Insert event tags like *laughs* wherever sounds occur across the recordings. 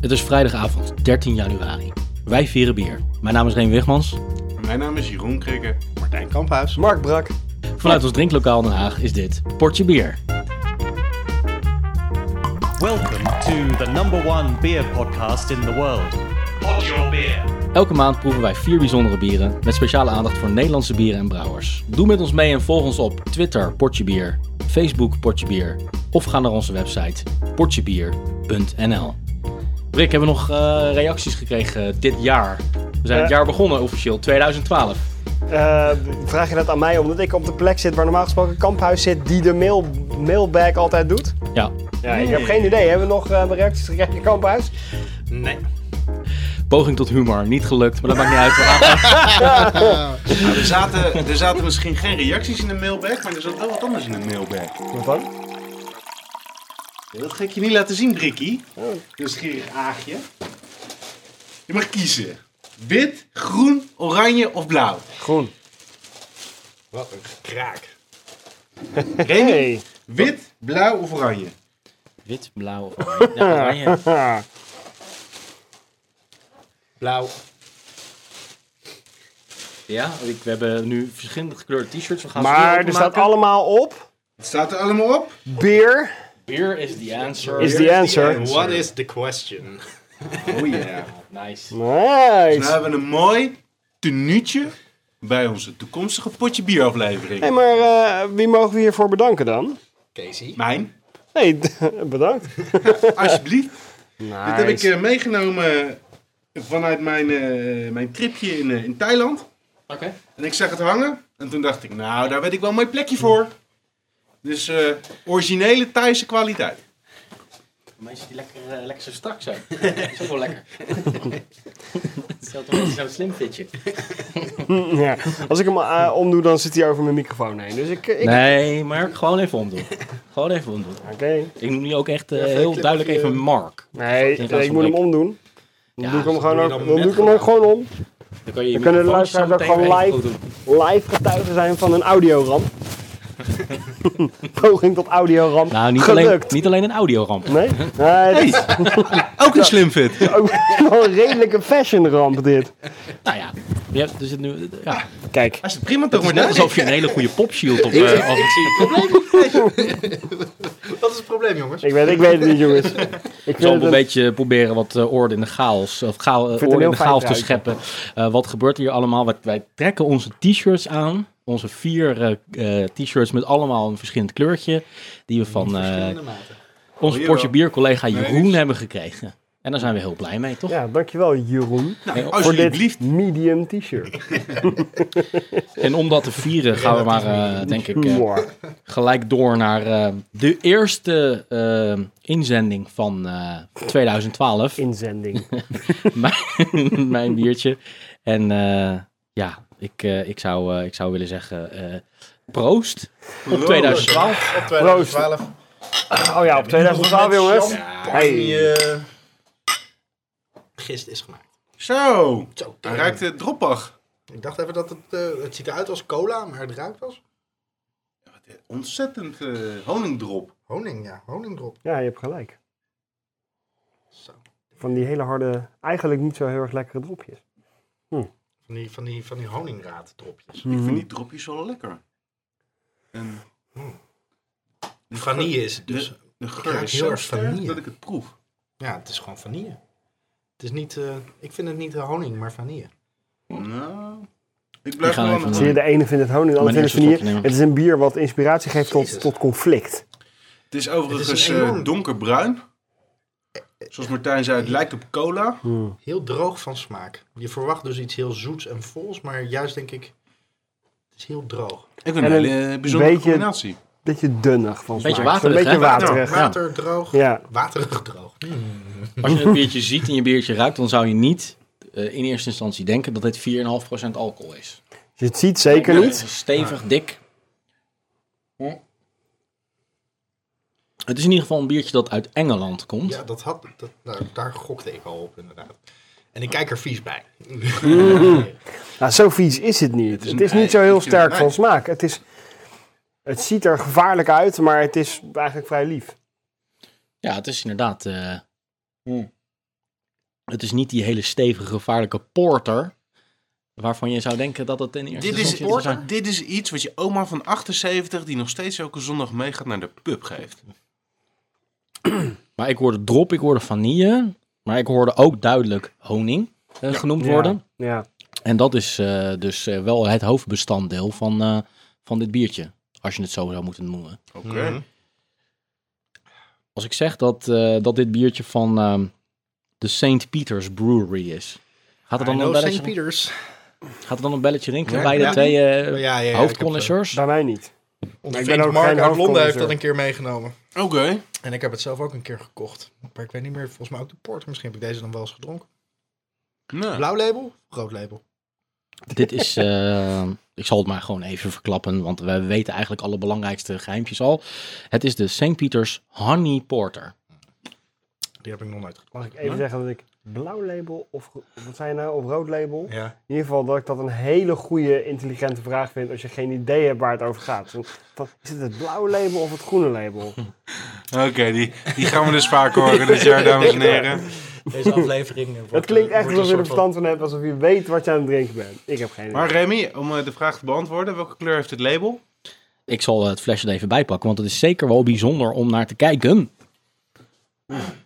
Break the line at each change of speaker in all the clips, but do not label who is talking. Het is vrijdagavond, 13 januari. Wij vieren bier. Mijn naam is Reen Wigmans.
Mijn naam is Jeroen Krikke.
Martijn Kamphuis.
Mark Brak.
Vanuit ons drinklokaal Den Haag is dit Portje Bier.
Welcome to the number one beer podcast in the world. Pod your beer.
Elke maand proeven wij vier bijzondere bieren met speciale aandacht voor Nederlandse bieren en brouwers. Doe met ons mee en volg ons op Twitter Portje Bier, Facebook Portje Bier of ga naar onze website portjebier.nl. Rick, hebben we nog eh, reacties gekregen dit jaar? We zijn het
Eh.
jaar begonnen officieel, 2012.
Eh, vraag je dat aan mij omdat ik op de plek zit waar normaal gesproken Kamphuis zit die de mail, mailbag altijd doet?
Ja,
Ja, ik heb geen idee. Hebben we nog eh, reacties gekregen Kamphuis?
Nee.
poging tot humor, niet gelukt, maar dat maakt niet uit.
Nou, er, zaten, er zaten misschien geen reacties in de mailbag, maar er zat wel wat anders in de mailbag.
Wat dan?
Dat ga ik je niet laten zien, Brikkie. Nieuwsgierig aagje. Je mag kiezen. Wit, groen, oranje of blauw.
Groen.
Wat een kraak. Remy, wit, blauw of oranje?
*laughs* Wit, blauw of oranje? Ja, oranje.
Blauw.
Ja, ik- we hebben nu verschillende gekleurde t-shirts. We gaan ze weer
Maar er
openmaken.
staat allemaal op.
Het staat er allemaal op.
Beer
Beer is the answer.
is the answer.
answer.
What is the question?
Oh ja.
Nice.
Nou
Nice.
hebben we een mooi tenuutje bij onze toekomstige potje bieraflevering.
Hé, maar eh, wie mogen we hiervoor bedanken dan?
Casey.
Mijn,
Nee, *laughs* bedankt.
alsjeblieft. Dit heb ik
Nice.
eh, meegenomen vanuit mijn, eh, mijn tripje in, eh, in Thailand.
Oké.
En ik zag het hangen. En toen dacht ik, nou, daar weet ik wel een mooi plekje voor. Dus eh, originele Thaise kwaliteit.
Mensen die lekker, eh, lekker zo strak zijn. *laughs* Dat is ook wel lekker. Stel toch wel zo'n slim fitje.
Ja. Als ik hem eh, omdoe, dan zit hij over mijn microfoon heen. Dus ik... ik...
Nee, maar gewoon even omdoen. Gewoon even omdoen.
Oké.
Ik noem nu ook echt eh,
Even een
heel
clipje.
duidelijk even Mark.
Nee,
In plaats
ik
van
moet hem
ik.
omdoen. Dan
Ja,
doe ik hem
dat
gewoon,
doe
ook,
je
dan
dan
doe
net
ik hem ook gewoon om.
Dan, kan je je
Dan kunnen
microfoon
de luisteraars
zo
ook
meteen
gewoon
weer even
live.
goed doen.
live getuige zijn van een audioramp. Poging tot audioramp.
Nou, niet alleen,
Gelukt.
niet alleen een audioramp.
Nee? Nee, dit
Ook een slim fit.
is *laughs* ook wel een redelijke fashionramp dit.
Nou ja, je hebt- er zit nu... Ja.
Kijk,
Als het prima
Het
toch
is
maar
net
net
alsof je een hele goede popshield op... eh, op-
Dat is het probleem, jongens.
ik weet, ik weet het niet jongens. Ik
Ik zal
vind
een
het een,
beetje proberen wat eh, orde in de chaos, of chaal- eh,
het
orde
een
in de
heel
chaos te
fijn
scheppen. Eh, wat gebeurt hier allemaal? Wij, wij trekken onze t-shirts aan. Onze vier eh, eh, t-shirts met allemaal een verschillend kleurtje. Die we van eh,
Verschillende maten.
onze
Oh,
Portje Bier collega Jeroen
niks.
hebben gekregen. En daar zijn we heel blij mee, toch?
ja, dankjewel Jeroen.
Nou,
voor
Alsjeblieft.
dit medium t-shirt.
En om dat te vieren gaan we maar, eh, denk ik, eh,
Mwah.
gelijk door naar eh, de eerste eh, inzending van eh, 2012.
Inzending. Oh
*laughs* mijn, mijn biertje. En eh, ja, ik, eh, ik, zou, eh, ik zou willen zeggen, eh, proost op 2012.
Op 2012.
Oh ja, op 2012 jongens. Hey.
Champagne. Gist is gemaakt.
Zo,
Zo,
dan ruikt het droppig.
Ik dacht even dat het... eh, het ziet eruit als cola, maar het ruikt als...
Ontzettend eh, honingdrop.
Honing, ja. Honingdrop.
Ja, je hebt gelijk.
Zo.
Van die hele harde, eigenlijk niet zo heel erg lekkere dropjes.
Van die, van die, van die honingraaddropjes.
Ik vind die dropjes wel lekker. En de
Vanille is het
geur-
dus.
De, de
ruik
geur is
heel
heel
erg
sterk
vanille.
dat ik het proef.
Ja, het is gewoon vanille. Het is niet... eh, ik vind het niet eh, honing, maar vanille.
Nou, ik blijf
gaan
gewoon...
even-
Zie je, de ene vindt het honing, de andere
Mijn
vindt het
eerste
vanille.
slokje nemen.
Het is een bier wat inspiratie geeft tot,
Jezus.
tot conflict.
Het is overigens
Het is een
eh,
enorm- Eh,
donkerbruin. Zoals Martijn zei, het lijkt op cola.
Heel droog van smaak. Je verwacht dus iets heel zoets en vols, maar juist denk ik... Het is heel droog.
Ik vind het
En
een
een
hele bijzondere
beetje-
combinatie.
beetje dunnig van
Beetje
smaak. Zo'n
waterig,
beetje
hè?
waterig.
Ja.
Water droog.
Ja.
Waterig droog. Mm.
Als je een biertje ziet en je biertje ruikt, dan zou je niet eh, in eerste instantie denken dat dit 4,5% alcohol is.
Dus Je het ziet zeker
Het
niet.
is stevig, dik. Het is in ieder geval een biertje dat uit Engeland komt.
Ja, dat had, dat, nou, daar gokte ik al op inderdaad. En ik kijk er vies bij. *laughs*
Nou, zo vies is het niet. Het
een
is,
ei,
niet zo heel
het is een
sterk
ei.
van smaak. Het, is, het ziet er gevaarlijk uit, maar het is eigenlijk vrij lief.
Ja, het is inderdaad. eh, Het is niet die hele stevige, gevaarlijke porter. Waarvan je zou denken dat het een eerste
Dit is,
drankje zou zijn.
dit is iets wat je oma van 78, die nog steeds elke zondag meegaat naar de pub, geeft.
Maar ik hoorde drop, ik hoorde vanille. Maar ik hoorde ook duidelijk honing eh, genoemd worden.
Ja.
En dat is eh, dus eh, wel het hoofdbestanddeel van, eh, van dit biertje. Als je het zo zou moeten noemen.
Oké.
Mhm.
Als ik zeg dat, eh, dat dit biertje van ehm, de St. Peter's Brewery is. Gaat er dan, een belletje,
St. Peters.
gaat er dan een belletje rinkelen
Ja,
bij de
ja.
twee
Ja,
eh
ja, ja,
hoofdconnoisseurs?
Bij mij niet.
Onze
Ik ben
vriend
ook
Mark
geen
uit Londen heeft
hoofdconnoisseur.
dat een keer meegenomen.
Oké.
En ik heb het zelf ook een keer gekocht. Maar ik weet niet meer, volgens mij ook de porter. Misschien heb ik deze dan wel eens gedronken.
Nou.
Blauw label, rood label.
Dit is, eh, ik zal het maar gewoon even verklappen, want we weten eigenlijk alle belangrijkste geheimpjes al. Het is de St. Peter's Honey Porter.
Die heb ik nog nooit gedronken.
Mag ik even zeggen dat ik blauw label of ro- wat zijn nou of rood label?
Ja.
In ieder geval dat ik dat een hele goede intelligente vraag vind als je geen idee hebt waar het over gaat. Dan- dan- Is het het blauwe label of het groene label?
Oké, die, die gaan we dus vaak horen dit
*laughs*
jaar, dames en heren.
Deze *laughs* aflevering. eh, wordt-
Het klinkt echt
wordt
alsof je
een
er
soort van-
verstand van hebt, alsof je weet wat je aan het drinken bent. Ik heb geen idee.
Maar Remy, om eh, de vraag te beantwoorden, welke kleur heeft het label?
Ik zal het flesje er even bij pakken, want het is zeker wel bijzonder om naar te kijken.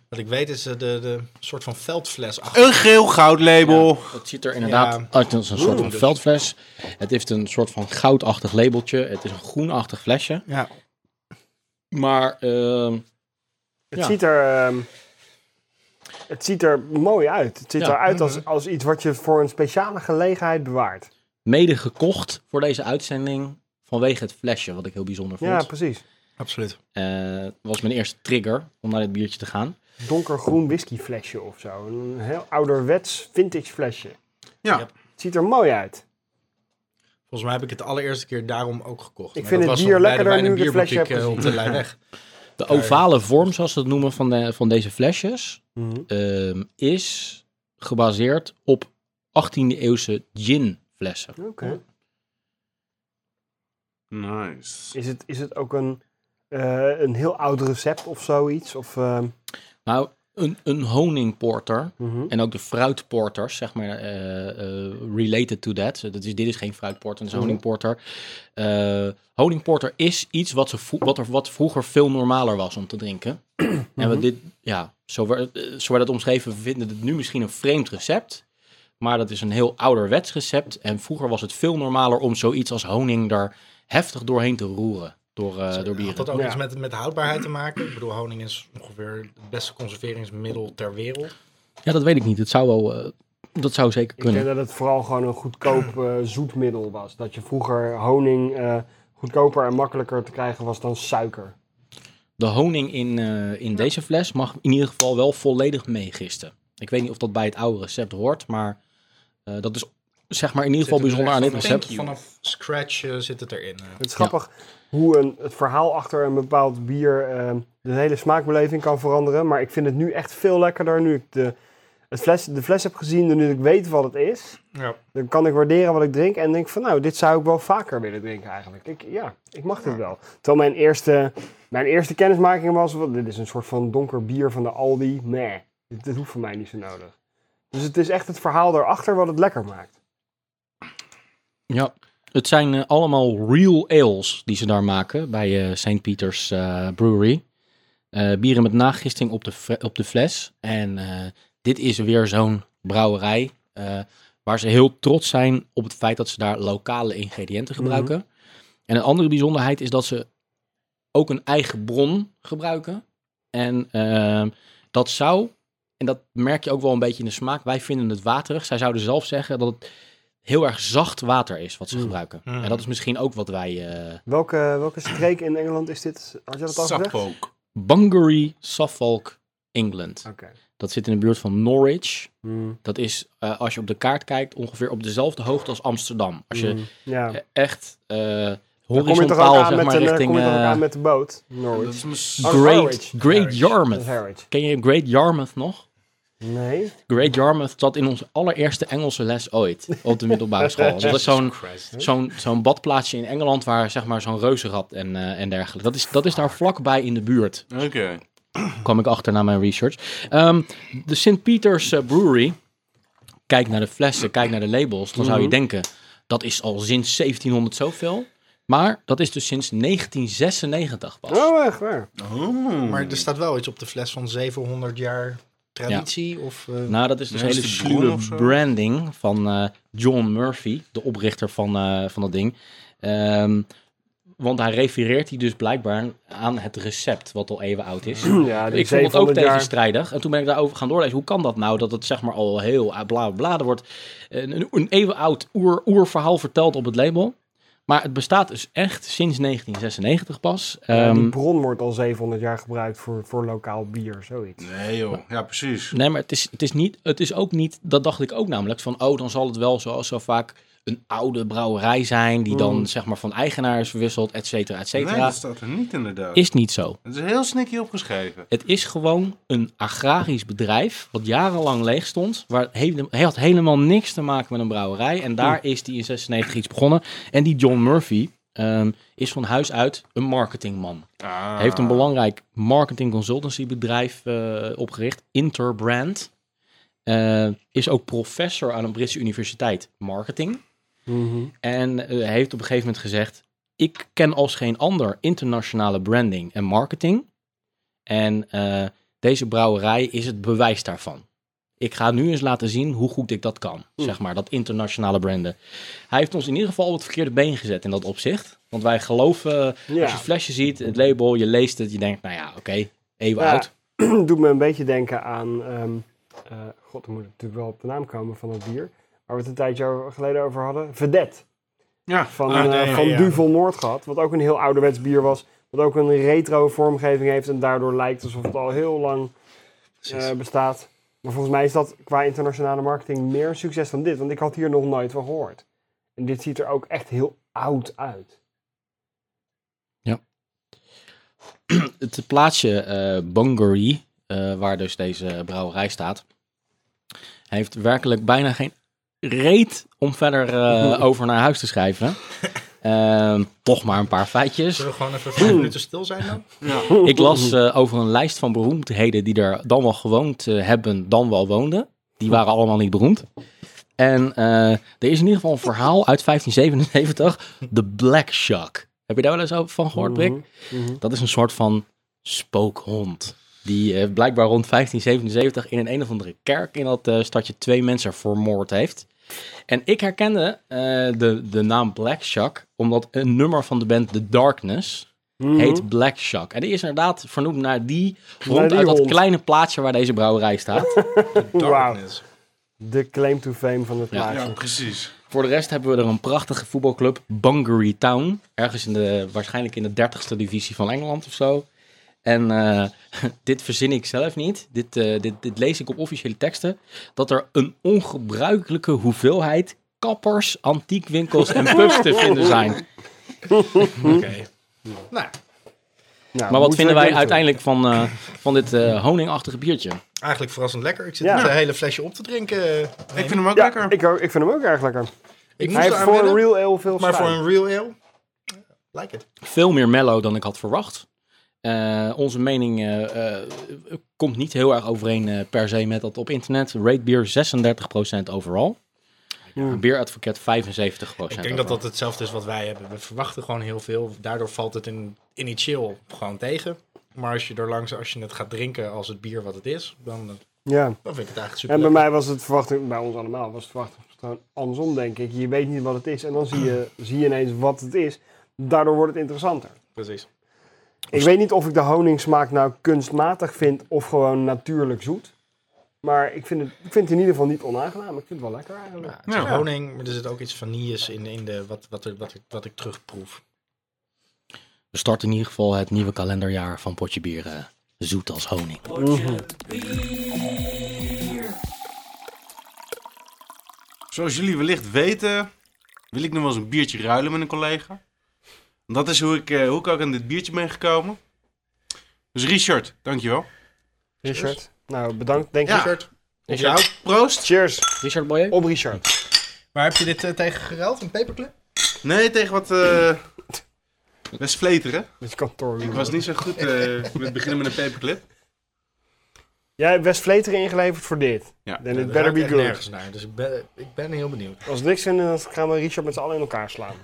Wat ik weet is eh, de, de soort van veldfles achter.
Een geel goud label.
Het ziet er inderdaad
Ja.
uit als een soort van
dus.
veldfles. Het heeft een soort van goudachtig labeltje. Het is een groenachtig flesje.
Ja.
Maar ehm,
Het,
Ja.
ziet er, ehm, het ziet er mooi uit. Het ziet
Ja. Mhm.
eruit als, als iets wat je voor een speciale gelegenheid bewaart.
mede gekocht voor deze uitzending vanwege het flesje, wat ik heel bijzonder vond.
Ja, precies.
Absoluut.
Eh, was mijn eerste trigger om naar dit biertje te gaan.
Donkergroen whiskyflesje of zo. Een heel ouderwets vintage flesje.
Ja.
Het ziet er mooi uit.
Volgens mij heb ik het de allereerste keer daarom ook gekocht.
Ik
Maar
vind
dat
het
was
bier
nog bij de
lekkerder
Wijn en
nu ik het flesje heb
Bierboutique, eh, op de
*laughs*
Leidweg.
De ovale vorm, zoals ze het noemen, van, de, van deze flesjes ehm, is gebaseerd op 18e eeuwse ginflessen.
Oké.
Nice.
Is, het, is het ook een, eh, een heel oud recept of zoiets? Of, ehm,
Nou, een, een honingporter
mhm.
en ook de fruitporters, zeg maar, eh, eh, related to that. Dat is, dit is geen fruitporter, het is een
Mhm.
honingporter. Eh, honingporter is iets wat, ze vro- wat, er, wat vroeger veel normaler was om te drinken. *clears throat* En
Mhm.
wat dit, ja, zo werd, eh, zo werd het omschreven, we vinden het nu misschien een vreemd recept. Maar dat is een heel ouderwets recept. En vroeger was het veel normaler om zoiets als honing er heftig doorheen te roeren. Door, eh, door bieren.
Had dat ook
Ja.
iets met, met houdbaarheid te maken? Ik bedoel, honing is ongeveer het beste conserveringsmiddel ter wereld.
Ja, dat weet ik niet. Het zou wel, eh, dat zou zeker
Ik denk
kunnen.
dat het vooral gewoon een goedkoop eh, zoetmiddel was. Dat je vroeger honing eh, goedkoper en makkelijker te krijgen was dan suiker.
De honing in, eh, in deze fles mag in ieder geval wel volledig meegisten. Ik weet niet of dat bij het oude recept hoort, maar eh, dat is zeg maar in ieder geval
Zit het er
bijzonder aan dit
vanaf-
recept.
Vanaf scratch eh, zit het erin. eh.
Het is grappig hoe een, het verhaal achter een bepaald bier ehm, de hele smaakbeleving kan veranderen. Maar ik vind het nu echt veel lekkerder nu ik de, het fles, de fles heb gezien en nu ik weet wat het is.
Ja.
Dan kan ik waarderen wat ik drink en denk van nou, dit zou ik wel vaker willen drinken eigenlijk. Ik, ja, ik mag dit wel. Terwijl mijn eerste, mijn eerste kennismaking was, wat, dit is een soort van donker bier van de Aldi. Nee, dit, dit hoeft voor mij niet zo nodig. Dus het is echt het verhaal daarachter wat het lekker maakt.
Ja, het zijn eh, allemaal real ales die ze daar maken bij eh St. Peter's eh, Brewery. Eh, bieren met nagisting op de, fre- op de fles. En eh, dit is weer zo'n brouwerij eh, waar ze heel trots zijn op het feit dat ze daar lokale ingrediënten gebruiken. En een andere bijzonderheid is dat ze ook een eigen bron gebruiken. En ehm, dat zou, en dat merk je ook wel een beetje in de smaak, wij vinden het waterig. Zij zouden zelf zeggen dat het heel erg zacht water is wat ze gebruiken.
Mm.
En dat is misschien ook wat wij eh,
Welke, welke streek in Engeland is dit? Had je dat al gezegd? Oké.
Sappook.
Bunbury, Suffolk, England.
Ah.
Dat zit in de buurt van Norwich.
Hmm.
Dat is, eh, als je op de kaart kijkt, ongeveer op dezelfde hoogte als Amsterdam. Als je
Hmm. Ja.
eh, echt eh
Dan kom je toch ook
horizontaal,
aan
zeg
met
maar,
een, eh,
richting
kom je toch ook
eh,
aan met de boot?
Dat
Norwich.
is mis-
Oh,
Great,
Harwich.
Great
Dat is
Yarmouth.
Harwich.
Ken je Great Yarmouth nog?
Nee.
Great Yarmouth zat in onze allereerste Engelse les ooit op de middelbare school. Dat is zo'n
Christ.
zo'n zo'n badplaatsje in Engeland waar zeg maar zo'n reuzenrad en, eh, en dergelijke. Dat is, dat is daar vlakbij in de buurt.
Oké.
kwam ik achter na mijn research. Ehm, de St. Peter's eh, Brewery. Kijk naar de flessen, kijk naar de labels. Dan zou je denken, dat is al sinds 1700 zoveel. Maar dat is dus sinds 1996 pas.
Oh, echt waar.
Oh.
Maar er staat wel iets op de fles van 700 jaar traditie. Of, eh,
Nou, dat is dus
Ja, is
hele
de bron
sluwe
of zo?
branding van eh, John Murphy, de oprichter van, eh, van dat ding. Ehm, want hij refereert hij dus blijkbaar aan het recept, wat al even oud
*clears throat*
is.
*clears throat* Ja, die
ik vond het ook
700 jaar.
tegenstrijdig. En toen ben ik daarover gaan doorlezen. Hoe kan dat nou? Dat het zeg maar al heel eh, bla bla bla. Er wordt een, een- een eeuwenoud oer, oerverhaal verteld op het label. Maar het bestaat dus echt sinds 1996 pas.
Ja,
Ehm,
die bron wordt al 700 jaar gebruikt voor, voor lokaal bier, zoiets.
Nee joh, ja precies.
Nee, maar het is, het is niet, het is ook niet, dat dacht ik ook namelijk, van oh, dan zal het wel zoals zo vaak een oude brouwerij zijn, die dan zeg maar van eigenaar is verwisselt, et cetera, et
Hmm. Nee,
cetera.
dat staat er niet inderdaad.
Is niet zo.
Het is heel sneaky opgeschreven.
Het is gewoon een agrarisch bedrijf, wat jarenlang leeg stond, waar hele- hij had helemaal niks te maken met een brouwerij. En daar
Hmm.
is die in 96 iets begonnen. En die John Murphy ehm, is van huis uit een marketingman.
Ah.
Hij heeft een belangrijk marketing consultancy bedrijf eh, opgericht, Interbrand. Eh, is ook professor aan een Britse universiteit marketing.
Mhm.
En eh, hij heeft op een gegeven moment gezegd: Ik ken als geen ander internationale branding en marketing. En eh, deze brouwerij is het bewijs daarvan. Ik ga nu eens laten zien hoe goed ik dat kan. Zeg maar, dat internationale branden. Hij heeft ons in ieder geval op het verkeerde been gezet in dat opzicht. Want wij geloven,
Ja.
als je het flesje ziet, het label, je leest het, je denkt, nou ja, oké, even
Ja, *clears throat*
oud.
doet me een beetje denken aan. ehm, eh, God, dan moet ik natuurlijk wel op de naam komen van dat bier. Waar we het een tijdje over- geleden over hadden. Vedet.
Ja,
Van,
Ah, nee,
eh, van
ja.
Duvel Noord gehad. Wat ook een heel ouderwets bier was. Wat ook een retro vormgeving heeft. En daardoor lijkt alsof het al heel lang eh, bestaat. Maar volgens mij is dat qua internationale marketing meer een succes dan dit. Want ik had hier nog nooit van gehoord. En dit ziet er ook echt heel oud uit.
het plaatsje eh Bungaree, eh, waar dus deze brouwerij staat, heeft werkelijk bijna geen reet om verder eh, over naar huis te schrijven. Ehm, toch maar een paar feitjes.
Zullen we gewoon even vijf minuten stil zijn dan?
Ik las eh, over een lijst van beroemdheden die er dan wel gewoond eh, hebben, dan wel woonden. Die waren allemaal niet beroemd. En eh, er is in ieder geval een verhaal uit 1577, de Black Shark. Heb je daar wel eens over- van gehoord, Brik?
Mhm,
Dat is een soort van spookhond. Die eh, blijkbaar rond 1577 in een een of andere kerk in dat eh, stadje twee mensen vermoord heeft. En ik herkende eh, de, de naam Black Shark, omdat een nummer van de band The Darkness,
Mhm.
heet Black Shark. En die is inderdaad vernoemd naar die hond
die
uit dat
hond.
kleine plaatsje waar deze brouwerij staat.
Darkness.
De claim to fame van het plaatje.
ja precies.
Voor de rest hebben we er een prachtige voetbalclub, Bungaree Town. Ergens in de, waarschijnlijk in de dertigste divisie van Engeland of zo. En eh, *laughs* dit verzin ik zelf niet. Dit, eh, dit, dit lees ik op officiële teksten. Dat er een ongebruikelijke hoeveelheid kappers, antiekwinkels en pubs te vinden
*laughs*
zijn.
Hm. Nou,
Nou,
Maar wat
moet
vinden
je
wij
weten.
uiteindelijk van, eh, van dit eh, honingachtige biertje?
eigenlijk verrassend lekker. Ik zit
Ja.
het hele flesje op te drinken.
Ik vind hem ook
Ja,
lekker.
ik, ook- ik vind hem ook erg lekker.
Ik moest
Hij heeft
eraan
voor
wennen,
een real ale veel
maar voor
schuim.
een real ale, like it.
veel meer mellow dan ik had verwacht. Eh, onze mening eh, eh, komt niet heel erg overeen eh, per se met dat op internet. Rate beer 36% overal. Beeradvocaat 75%.
Ik denk dat dat hetzelfde is wat wij hebben. We verwachten gewoon heel veel. Daardoor valt het in, initieel gewoon tegen. Maar als je er langs, als je het gaat drinken als het bier wat het is, dan, eh,
Ja.
dan vind ik het eigenlijk super.
En bij mij was het verwachting, bij ons allemaal was het verwachting gewoon andersom, denk ik. Je weet niet wat het is en dan zie je, zie je ineens wat het is. Daardoor wordt het interessanter.
Precies.
Ik weet niet of ik de honingsmaak nou kunstmatig vind of gewoon natuurlijk zoet. Maar ik vind het, ik vind het in ieder geval niet onaangenaam. Ik vind het wel lekker eigenlijk.
Ja, het is
Ja.
honing, maar er zit ook iets vanilles in, in de, wat, wat, er, wat, ik, wat ik terugproef.
We starten in ieder geval het nieuwe kalenderjaar van Potje Bier eh, zoet als honing.
Zoals jullie wellicht weten, wil ik nog wel eens een biertje ruilen met een collega. En Dat is hoe ik, eh, hoe ik ook aan dit biertje ben gekomen. Dus Richard, dankjewel.
Richard, nou bedankt denk ik.
Ja.
Richard,
Op jou, proost.
Cheers
Richard Boyer?
op Richard.
waar heb je dit eh, tegen geruild? Een paperclip?
Nee, tegen wat... eh Best vleteren.
Dit is kantoor.
Ik was niet zo goed eh, met beginnen met een paperclip.
Jij hebt West Vleteren ingeleverd voor dit.
Ja.
Then
Ja,
it
daar
better
ruik ik
be
echt
good.
nergens naar. Dus ik ben, ik ben heel benieuwd.
Als het niks vinden, dan gaan we Richard met z'n allen in elkaar slaan.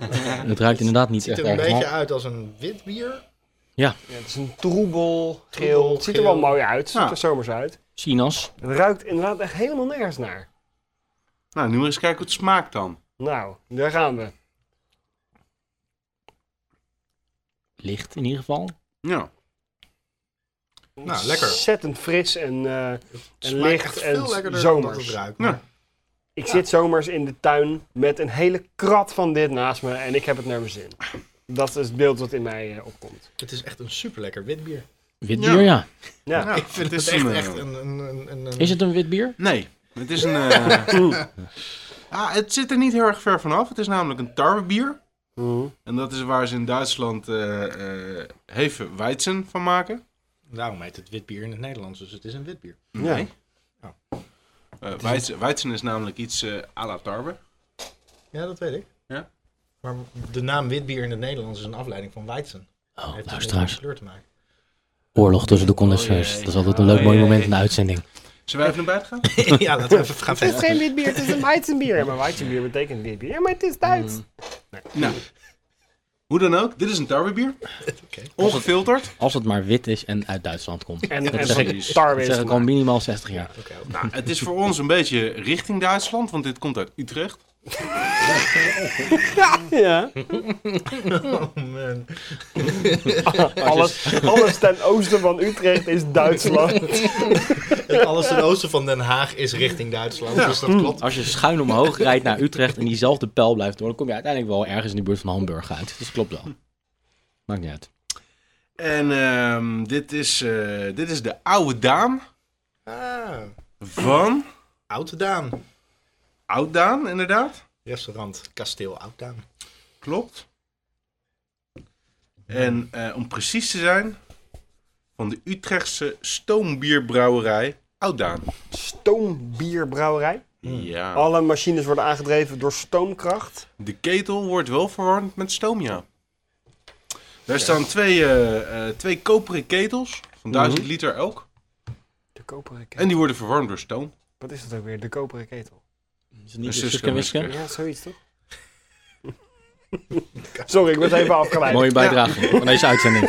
Het ruikt inderdaad niet
Het ziet
echt
er een
erg
beetje
naar.
uit als een wit bier.
Ja, het is een troebel, geel.
Troebel,
Het ziet er
geel.
wel mooi uit. Het ziet
Ja.
er zomers uit.
Sinaas.
Het ruikt inderdaad echt helemaal nergens naar.
Nou, nu maar eens kijken hoe het smaakt dan.
Nou, daar gaan we.
Licht in ieder geval.
Ja.
Nou, lekker.
Ontzettend fris en eh,
Het
En
smaakt
licht
echt
en
veel lekkerder dan dat
zomers.
het ruikt.
Ja.
maar
ik zit zomers in de tuin met een hele krat van dit naast me en ik heb het naar mijn zin. Dat is het beeld wat in mij eh, opkomt.
Het is echt een superlekker wit bier.
Wit
Ja.
bier, ja.
Ja.
Ja,
ik vind het,
is
echt,
een,
echt
eh,
een... een, een, een,
Is het een wit bier?
Nee, het is een... eh, *laughs* ah, het zit er niet heel erg ver vanaf. Het is namelijk een tarwebier.
Mhm.
En dat is waar ze in Duitsland eh eh heven weizen van maken.
Daarom heet Nou, het wit bier in het Nederlands, dus het is een wit bier.
Nee.
Ja.
Eh, weizen, weizen is namelijk iets eh à la tarwe.
Ja, dat weet ik.
Ja.
Maar de naam wit bier in het Nederlands is een afleiding van Weizen.
Oh,
Heeft dus niks met
luisteraars.
kleur te maken. *laughs*
Oorlog tussen de condenseurs. dat is altijd een leuk
Oh,
mooi
jee.
moment in de uitzending.
Zullen wij even naar buiten gaan?
ja, *laughs* laten we even gaan
Het is
verder.
geen wit bier, het is een Weizenbier. Ja, maar Weizenbier betekent wit bier. Ja, maar het is Duits.
Nou, hoe dan ook, dit is een tarwebier.
Oké.
Ongefilterd.
Als het maar wit is en uit Duitsland komt.
En,
Dat
en
zeg
van
ik-
tarwe
Dat
is
zeg ik al
gemaakt.
minimaal 60 jaar.
Oké.
Nou, het is voor ons een beetje richting Duitsland, want dit komt uit Utrecht.
Ja.
Oh, man.
Alles, alles ten oosten van Utrecht is Duitsland.
En alles ten oosten van Den Haag is richting Duitsland, dus dat klopt.
Als je schuin omhoog rijdt naar Utrecht en diezelfde pijl blijft door, dan kom je uiteindelijk wel ergens in de buurt van Hamburg uit. Dus klopt wel. Maakt niet uit.
En ehm, dit, is, eh, dit is de oude Daan
Mm.
Ah,
van
Oud-Daan.
Oud Daan, inderdaad.
Restaurant Kasteel Oud-Daan.
Klopt. En eh, om precies te zijn, van de Utrechtse stoombierbrouwerij Oud Daan.
Stoombierbrouwerij.
Oh. Ja.
Alle machines worden aangedreven door stoomkracht.
De ketel wordt wel verwarmd met stoom, ja. Daar staan twee, eh, eh, twee koperen ketels van 1000
Mhm.
liter elk.
De koperen ketel.
En die worden verwarmd door stoom.
Wat is dat ook weer? De koperen ketel.
Is het niet
Een
de
Suske
Dus Suske en
Wiske.
Wiske?
Ja, zoiets toch? *laughs* Sorry, ik was even afgeleid.
Mooie bijdrage van deze uitzending.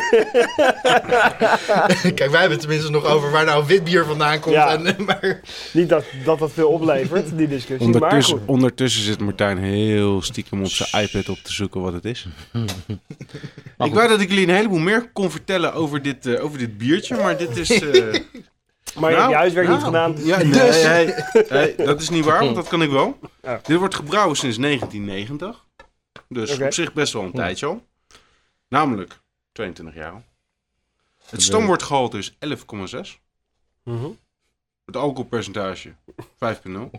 *laughs* Kijk, wij hebben het tenminste nog over waar nou wit bier vandaan komt.
Ja.
En, eh, maar
Niet dat, dat dat veel oplevert, die discussie, maar goed.
ondertussen zit Martijn heel stiekem op zijn iPad op te zoeken wat het
*laughs*
is. ik wou dat ik jullie een heleboel meer kon vertellen over dit, eh, over dit biertje, maar dit
*laughs*
is... eh,
Maar je hebt
Nou,
je huiswerk niet
nou,
gedaan. Dus-
Ja, nee, hey,
*laughs*
hey, dat is niet waar, want dat kan ik wel.
Ja.
Dit wordt gebrouwen sinds 1990. Dus
Oké. Hm.
op zich best wel een tijdje al. Namelijk 22 jaar al. Het stamwoordgehalte is 11,6.
Mhm.
Het alcoholpercentage 5,0.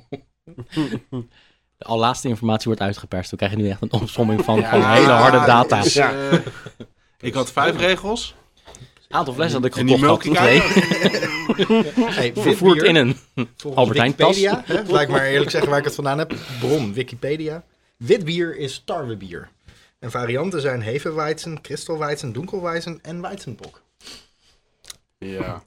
De al laatste informatie wordt uitgeperst. We krijgen nu echt een opsomming van,
Ja,
van hele harde data.
dus,
Ja.
eh, ik had vijf regels.
Aantal flessen dat ik
En die
gekocht had.
melk ik
Nee,
hey, wit
vervoerd
bier,
in een.
volgens
Albert Heijn
Wikipedia, hè, laat ik maar eerlijk zeggen waar ik het vandaan heb. Bron, Wikipedia. Wit bier is tarwebier. En varianten zijn Hefeweizen, Kristalweizen, Dunkelweizen en Weizenbok.
Ja.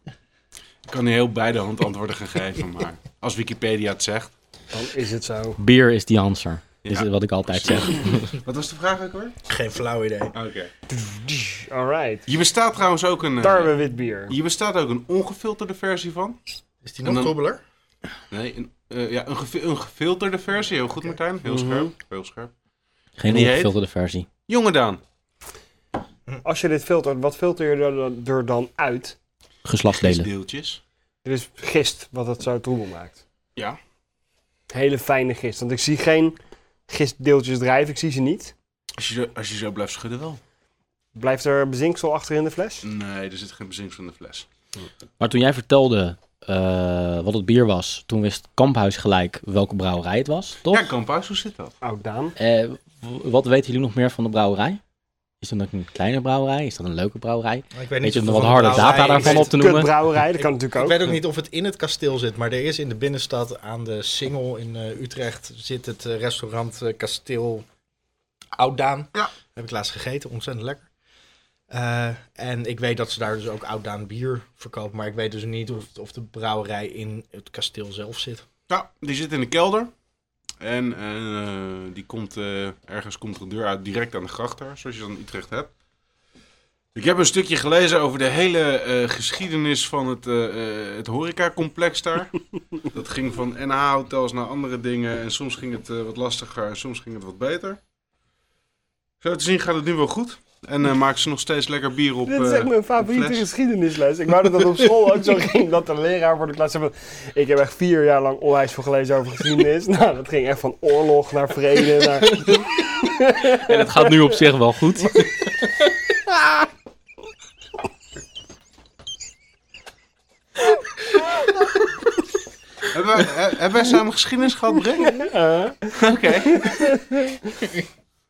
Ik kan nu heel beide hand antwoorden gaan geven, maar als Wikipedia het zegt.
Dan is het zo.
Bier is die answer. Is
Ja.
wat ik altijd zeg.
Wat was de vraag ook hoor?
Geen flauw idee.
Oké.
Alright.
Hier bestaat trouwens ook een... eh,
Tarwe wit bier.
Hier bestaat ook een ongefilterde versie van.
Is die nog
dan-
trobbeler?
Nee, een, Mhm. eh, ja, een, gefi- een gefilterde versie. Heel goed, Martijn. Heel scherp. Heel scherp.
Geen
die heet?
ongefilterde versie.
Jonge Daan.
Als je dit filtert, wat filter je er dan, er dan uit?
Geslachtsdelen.
Deeltjes.
Er is gist wat het zo troebel maakt.
Ja.
Hele fijne gist. Want ik zie geen gistdeeltjes drijven. Ik zie ze niet.
Als je, zo- als je zo blijft schudden wel.
Blijft er bezinksel achter in de fles?
Nee, er zit geen bezinksel in de fles.
Maar toen jij vertelde eh, wat het bier was, toen wist Kamphuis gelijk welke brouwerij het was, toch?
Ja, Kamphuis, hoe zit dat?
Oud Nou, Daan.
Eh, w- wat weten jullie nog meer van de brouwerij? Is dat een kleine brouwerij? Is dat een leuke *laughs* brouwerij?
Ik weet
Weet
niet
je
of
nog
het
wat
een
harde
brouwerij
data
is.
daarvan op te noemen?
Kutbrouwerij, dat kan natuurlijk
Ik
ook.
weet ook niet of het in het kasteel zit, maar er is in de binnenstad aan de Singel in eh, Utrecht zit het eh, restaurant eh, Kasteel Oudaan.
Ja.
Heb ik laatst gegeten, ontzettend lekker. Eh, en ik weet dat ze daar dus ook oud bier verkopen. Maar ik weet dus niet of, of de brouwerij in het kasteel zelf zit.
Ja, die zit in de kelder. En eh, die komt eh, ergens komt er een deur uit direct aan de gracht daar, zoals je dan in Utrecht hebt. Ik heb een stukje gelezen over de hele eh, geschiedenis van het, eh eh het horecacomplex
*laughs*
daar. Dat ging van NH-hotels naar andere dingen. En soms ging het eh, wat lastiger en soms ging het wat beter. Zo te zien gaat het nu wel goed. En
*laughs*
eh maken ze nog steeds lekker bier op.
Dit is echt
eh,
mijn favoriete
fles.
geschiedenisles. Ik wou dat dat op school ook zo ging, dat de leraar voor de klas zei van... Ik heb echt vier jaar lang onwijs veel gelezen over geschiedenis. *laughs* nou, dat ging echt van oorlog naar vrede naar...
En het gaat nu op zich wel *laughs* goed.
Hebben, we- he- hebben wij samen geschiedenis gehad, brengen? *laughs*
Eh,
Oké.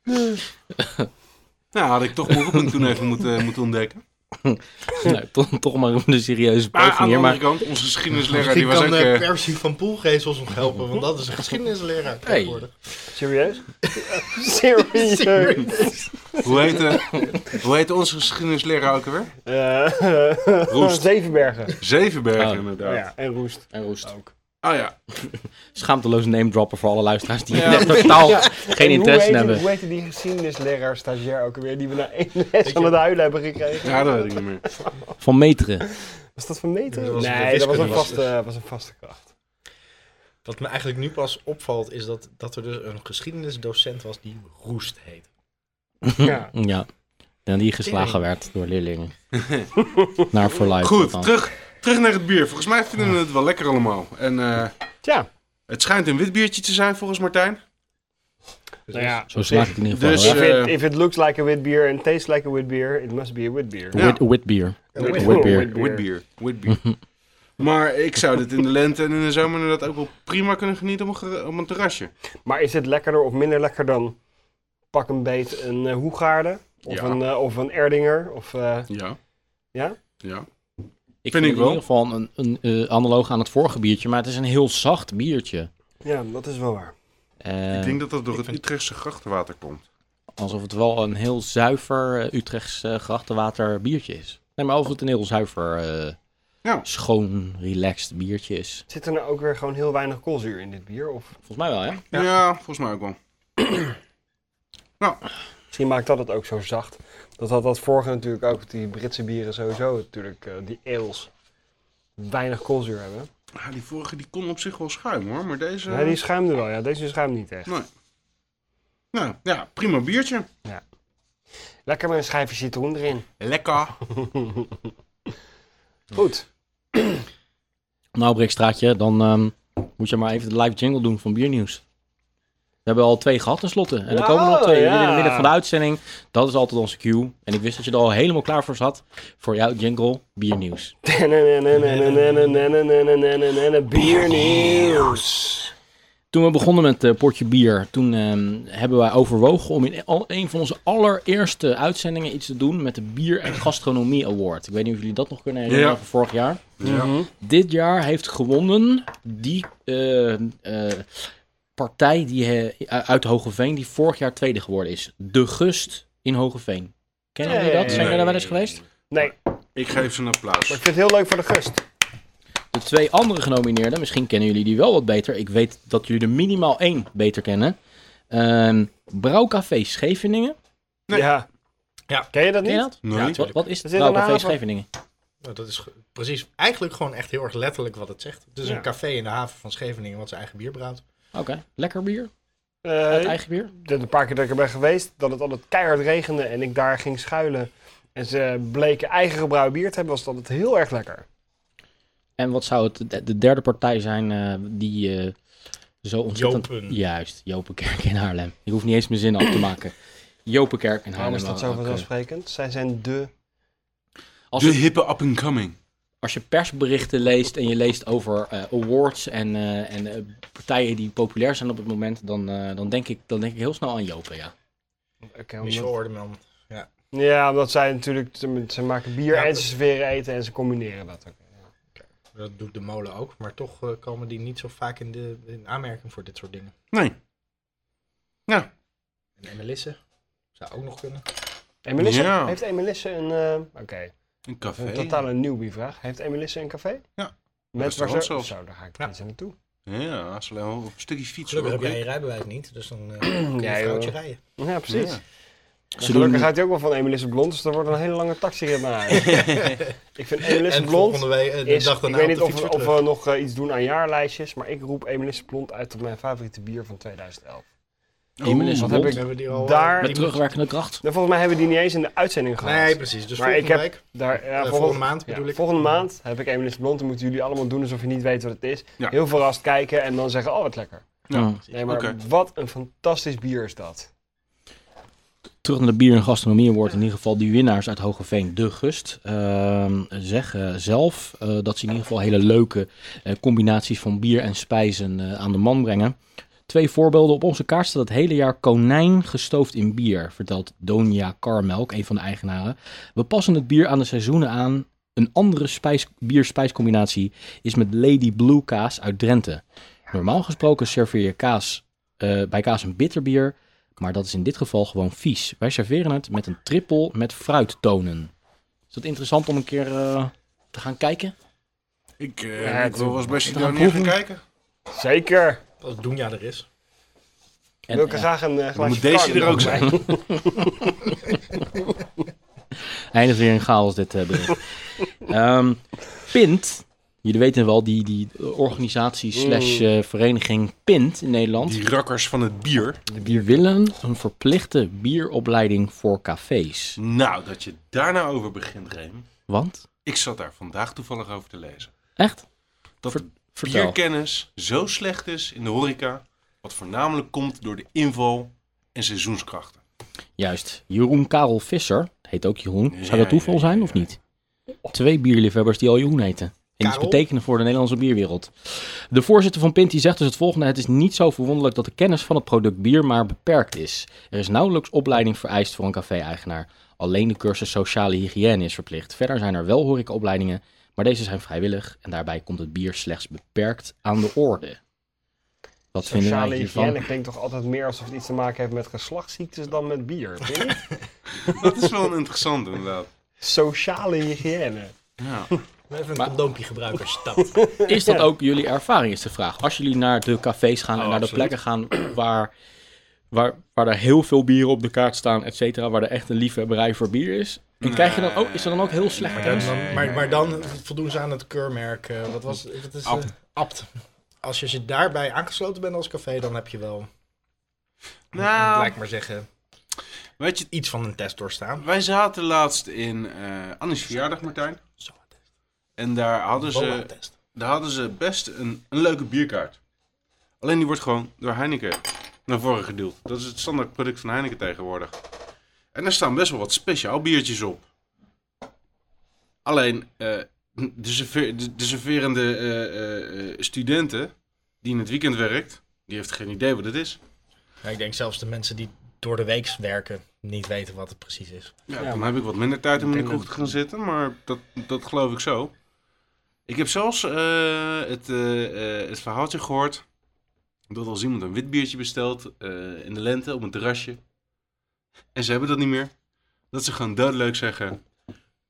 *laughs* nou, had ik toch mijn roeping toen even moeten, moeten ontdekken.
nou, toch, toch maar een serieuze
Maar aan
poging hier.
de andere
Maar
kant, onze geschiedenisleraar die
Misschien
was
kan
ook...
eh,
eh,
Percy van Poelgeest ons nog helpen, want dat is een
*laughs*
geschiedenisleraar tegenwoordig.
serieus? serieus?
hoe, heet, eh, hoe heet onze geschiedenisleraar ook *laughs* alweer?
*laughs* Eh,
Roest.
Zevenbergen.
Zevenbergen,
Oh.
inderdaad.
Ja, en Roest.
en roest.
Oh ja.
Schaamteloos name dropper voor alle luisteraars die
*laughs* Ja.
echt totaal
Ja.
geen
En
interesse in
hoe heette-
hebben.
Hoe heette die geschiedenisleraar stagiair ook alweer, die we na één les van het huilen hebben gekregen?
ja, dat weet ik niet meer.
Van meteren.
Was dat van meter?
Dat was de
nee, dat was een,
wiskunde was
vaste, was een vaste kracht.
Wat me eigenlijk nu pas opvalt, is dat, dat er dus een geschiedenisdocent was die Roest heet.
Ja.
Ja. En die geslagen werd door
*laughs*
leerlingen. Naar For Life.
Goed,
althans.
terug, terug naar het bier. Volgens mij vinden we het wel lekker allemaal. En eh,
Tja.
het schijnt een wit biertje te zijn volgens Martijn.
Dus
Nou ja,
Zo smaakt het in ieder geval.
Dus,
hoor.
if,
eh,
it, if it looks like a wit beer and tastes like a wit beer, it must be a wit beer.
eh, ja.
Wit- wit bier.
Wit-
Wit beer.
Wit beer.
Witbier.
*laughs*
Witbier. maar ik zou dit in de lente en in de zomer inderdaad ook wel prima kunnen genieten op een, ger- op een terrasje.
Maar is het lekkerder of minder lekker dan pak een beet een eh, Hoegaarde of,
Ja.
een, eh, of een Erdinger? Of, eh,
Ja.
Ja?
Ja.
Ik vind
Vind
het
ik
in
wel.
ieder geval een, een eh, analoog aan het vorige biertje, maar het is een heel zacht biertje.
ja, dat is wel waar.
Eh,
Ik denk dat dat door het
vind-
Utrechtse grachtenwater komt.
Alsof het wel een heel zuiver eh, Utrechts eh, grachtenwater biertje is. Nee, maar alsof het een heel zuiver, eh,
Ja.
schoon, relaxed biertje is.
Zit er nou ook weer gewoon heel weinig koolzuur in dit bier? Of
Volgens mij wel, ja?
Ja, volgens mij ook wel.
misschien maakt dat het ook zo zacht. Dat had dat vorige natuurlijk ook, die Britse bieren sowieso natuurlijk, eh, die ales, weinig koolzuur hebben.
Ah, die vorige die kon op zich wel schuim hoor, maar deze...
Ja, die schuimde wel, ja. Deze schuimt niet echt.
Nee. Nou, ja, prima biertje.
Lekker met een schijfje citroen erin.
Lekker.
Goed.
Nou, Brikstraatje, dan ehm, moet je maar even de live jingle doen van Biernieuws. We hebben al twee gehad tenslotte. En er
Ja,
komen nog twee
ja.
in het midden van de uitzending. Dat is altijd onze cue. En ik wist dat je er al helemaal klaar voor zat. Voor jouw jingle, Biernieuws.
Biernieuws.
Toen we begonnen met eh, Portje Bier, toen ehm, hebben wij overwogen om in al, een van onze allereerste uitzendingen iets te doen met de Bier en Gastronomie Award. Ik weet niet of jullie dat nog kunnen herinneren
Ja.
van vorig jaar.
Ja.
Dit jaar heeft gewonnen die eh, eh, partij die, eh, uit Hogeveen die vorig jaar tweede geworden is. De Gust in Hogeveen. Kennen jullie dat? Zijn jullie daar wel eens geweest?
Nee,
Ik geef ze een
Maar
applaus.
ik vind het heel leuk voor de gust.
De twee andere genomineerden, misschien kennen jullie die wel wat beter. Ik weet dat jullie er minimaal één beter kennen. Ehm Brouwcafé Scheveningen.
Nee.
Ja.
Ja.
Ken je dat niet?
Ken je dat?
Nee.
Ja,
Wat, wat is het?
Er zit een
Brouwcafé
haven.
Scheveningen.
Nou, dat is ge- precies eigenlijk gewoon echt heel erg letterlijk wat het zegt. Het is
Ja.
een café in de haven van Scheveningen wat zijn eigen bier brouwt.
Oké, lekker bier.
Eh,
Uit eigen bier.
de, de paar keer dat ik er ben geweest, dat het altijd keihard regende en ik daar ging schuilen. En ze bleken eigen gebrouwen bier te hebben, was dat altijd heel erg lekker.
En wat zou het de- de derde partij zijn eh, die eh, zo ontzettend...
Jopen.
Juist, Jopenkerk in Haarlem. Ik hoef niet eens mijn zin af te maken. Jopenkerk in
Waarom
Haarlem.
is dat zo
Oké.
vanzelfsprekend? Zij zijn de...
Als,
De
je,
hippe up and coming.
als je persberichten leest en je leest over eh, awards en, eh, en eh, partijen die populair zijn op het moment, dan, eh, dan, denk ik, dan denk ik heel snel aan Jopen, ja.
Oké, omdat-
Michel Ordeman.
Ja, omdat zij natuurlijk, ze, ze maken bier
Ja,
en
dat-
ze serveren eten en ze combineren dat ook.
Dat doet de molen ook. Maar toch eh, komen die niet zo vaak in, de, in aanmerking voor dit soort dingen.
Nee.
En Emelisse zou ook nog kunnen.
Emelisse?
Ja.
Heeft Emelisse een... eh, Oké,
Een
een
café.
totale newbie vraag. Heeft Emelisse een café?
Ja.
Met waar
Restaurant
ze...
zelfs.
Zo, daar ga ik
Ja.
niet eens naartoe.
Ja, als alleen op een stukje fiets.
Gelukkig heb
hoor.
jij je rijbewijs niet, dus dan eh kun je
Ja, joh.
een vrouwtje rijden.
Ja, precies.
Ja.
En
Ze
Gelukkig
doen-
gaat hij ook wel van Emelisse Blond, dus dat wordt een hele lange taxirit naar
*laughs*
huis. ik vind Emelisse
En
Blond...
volgende week, eh, de
Is,
dag
ik
daarna
weet niet
op de fiets
of,
weer
of
terug.
we nog eh, iets doen aan jaarlijstjes, maar ik roep Emelisse Blond uit tot mijn favoriete bier van 2011.
Oh,
Emelisse
wat heb
Blond.
ik-
Hebben we die al, eh,
daar-
die
Met terugwerkende kracht.
Nou, volgens mij hebben we die niet eens in de uitzending
moet-
gehad.
Nee, precies. Dus
Maar
volgende
ik heb-
week,
Daar, ja,
eh,
volgens-
volgende maand
Ja,
bedoel ik.
Volgende maand heb ik Emelisse Blond. Dan moeten jullie allemaal doen alsof je niet weet wat het is.
Ja.
Heel verrast kijken en dan zeggen, oh wat lekker.
Ja.
Nee, maar
Oké.
wat een fantastisch bier is dat.
Terug naar de bier- en gastronomie wordt in ieder geval die winnaars uit Hogeveen, De Gust, ehm, zeggen zelf eh, dat ze in ieder geval hele leuke eh, combinaties van bier en spijzen eh, aan de man brengen. Twee voorbeelden. Op onze kaart staat het hele jaar konijn gestoofd in bier, vertelt Donia Karmelk, een van de eigenaren. We passen het bier aan de seizoenen aan. Een andere spijs, bier-spijscombinatie is met Lady Blue kaas uit Drenthe. Normaal gesproken serveer je kaas, eh, bij kaas een bitterbier, maar dat is in dit geval gewoon vies. Wij serveren het met een trippel met fruittonen. Is dat interessant om een keer eh, te gaan kijken?
Ik eh,
Ja,
ik wil wel eens bij
We gaan
Sidonia gaan
proeven.
kijken.
Zeker.
als Doenja er is.
En,
Wil ik
eh,
graag een eh, glaasje
moet deze
Carmen
er ook
bij.
eindigt eh, weer in chaos dit eh, bericht. Ehm, Pint, jullie weten wel, die, die organisatie slash eh, vereniging Pint in Nederland.
Die rakkers van het bier.
Die willen een verplichte bieropleiding voor cafés.
Nou, dat je daar nou over begint, Reem.
Want,
Ik zat daar vandaag toevallig over te lezen.
echt,
Dat
Ver-
de
vertel.
bierkennis zo slecht is in de horeca. Wat voornamelijk komt door de inval en seizoenskrachten.
Juist. Jeroen Karel Visser, heet ook Jeroen.
Ja,
Zou dat toeval
ja, ja,
zijn
ja.
of niet? Twee bierliefhebbers die al Jeroen heten. En iets
Karel?
betekenen voor de Nederlandse bierwereld. De voorzitter van Pint die zegt dus het volgende. Het is niet zo verwonderlijk dat de kennis van het product bier maar beperkt is. Er is nauwelijks opleiding vereist voor een café-eigenaar. Alleen de cursus sociale hygiëne is verplicht. Verder zijn er wel horecaopleidingen, maar deze zijn vrijwillig. En daarbij komt het bier slechts beperkt aan de orde. Wat vinden wij
Sociale
hiervan?
hygiëne klinkt toch altijd meer alsof het iets te maken heeft met geslachtsziektes dan met bier. vind je niet?
Dat is wel een interessant inderdaad.
Sociale hygiëne.
Ja.
Even een
Maar-
condoompje gebruiken als je
*laughs*
stapt.
Is dat ook jullie ervaring, is de vraag. Als jullie naar de cafés gaan en
Oh,
naar de
absoluut.
plekken gaan waar, waar, waar er heel veel bieren op de kaart staan, et cetera, waar er echt een liefhebberij voor bier is. En krijg je dan ook, is er dan ook heel slecht
Maar
kennis?
dan, dan- maar, maar dan voldoen ze aan het keurmerk. eh, wat was wat is, eh,
Abt.
Abt. Als je ze daarbij aangesloten bent als café, dan heb je wel,
Nou,
lijkt maar zeggen,
weet je,
iets van een test doorstaan.
wij zaten laatst in eh Annie's verjaardag, Martijn. En daar hadden ze
test.
daar hadden ze best een, een leuke bierkaart. Alleen die wordt gewoon door Heineken naar voren geduwd. Dat is het standaard product van Heineken tegenwoordig. En daar staan best wel wat speciaal biertjes op. Alleen eh, de, serveer- de, de serverende eh, eh, eh, studenten die in het weekend werkt, die heeft geen idee wat het is.
ik denk zelfs de mensen die door de week werken, niet weten wat het precies is.
Ja,
Ja,
dan
maar-
heb ik wat minder tijd om in de
Ik denk
kroeg te gaan zitten, maar dat, dat geloof ik zo. Ik heb zelfs eh, het, eh, eh, het verhaaltje gehoord dat als iemand een wit biertje bestelt eh, in de lente op een terrasje en ze hebben dat niet meer, dat ze gewoon doodleuk zeggen: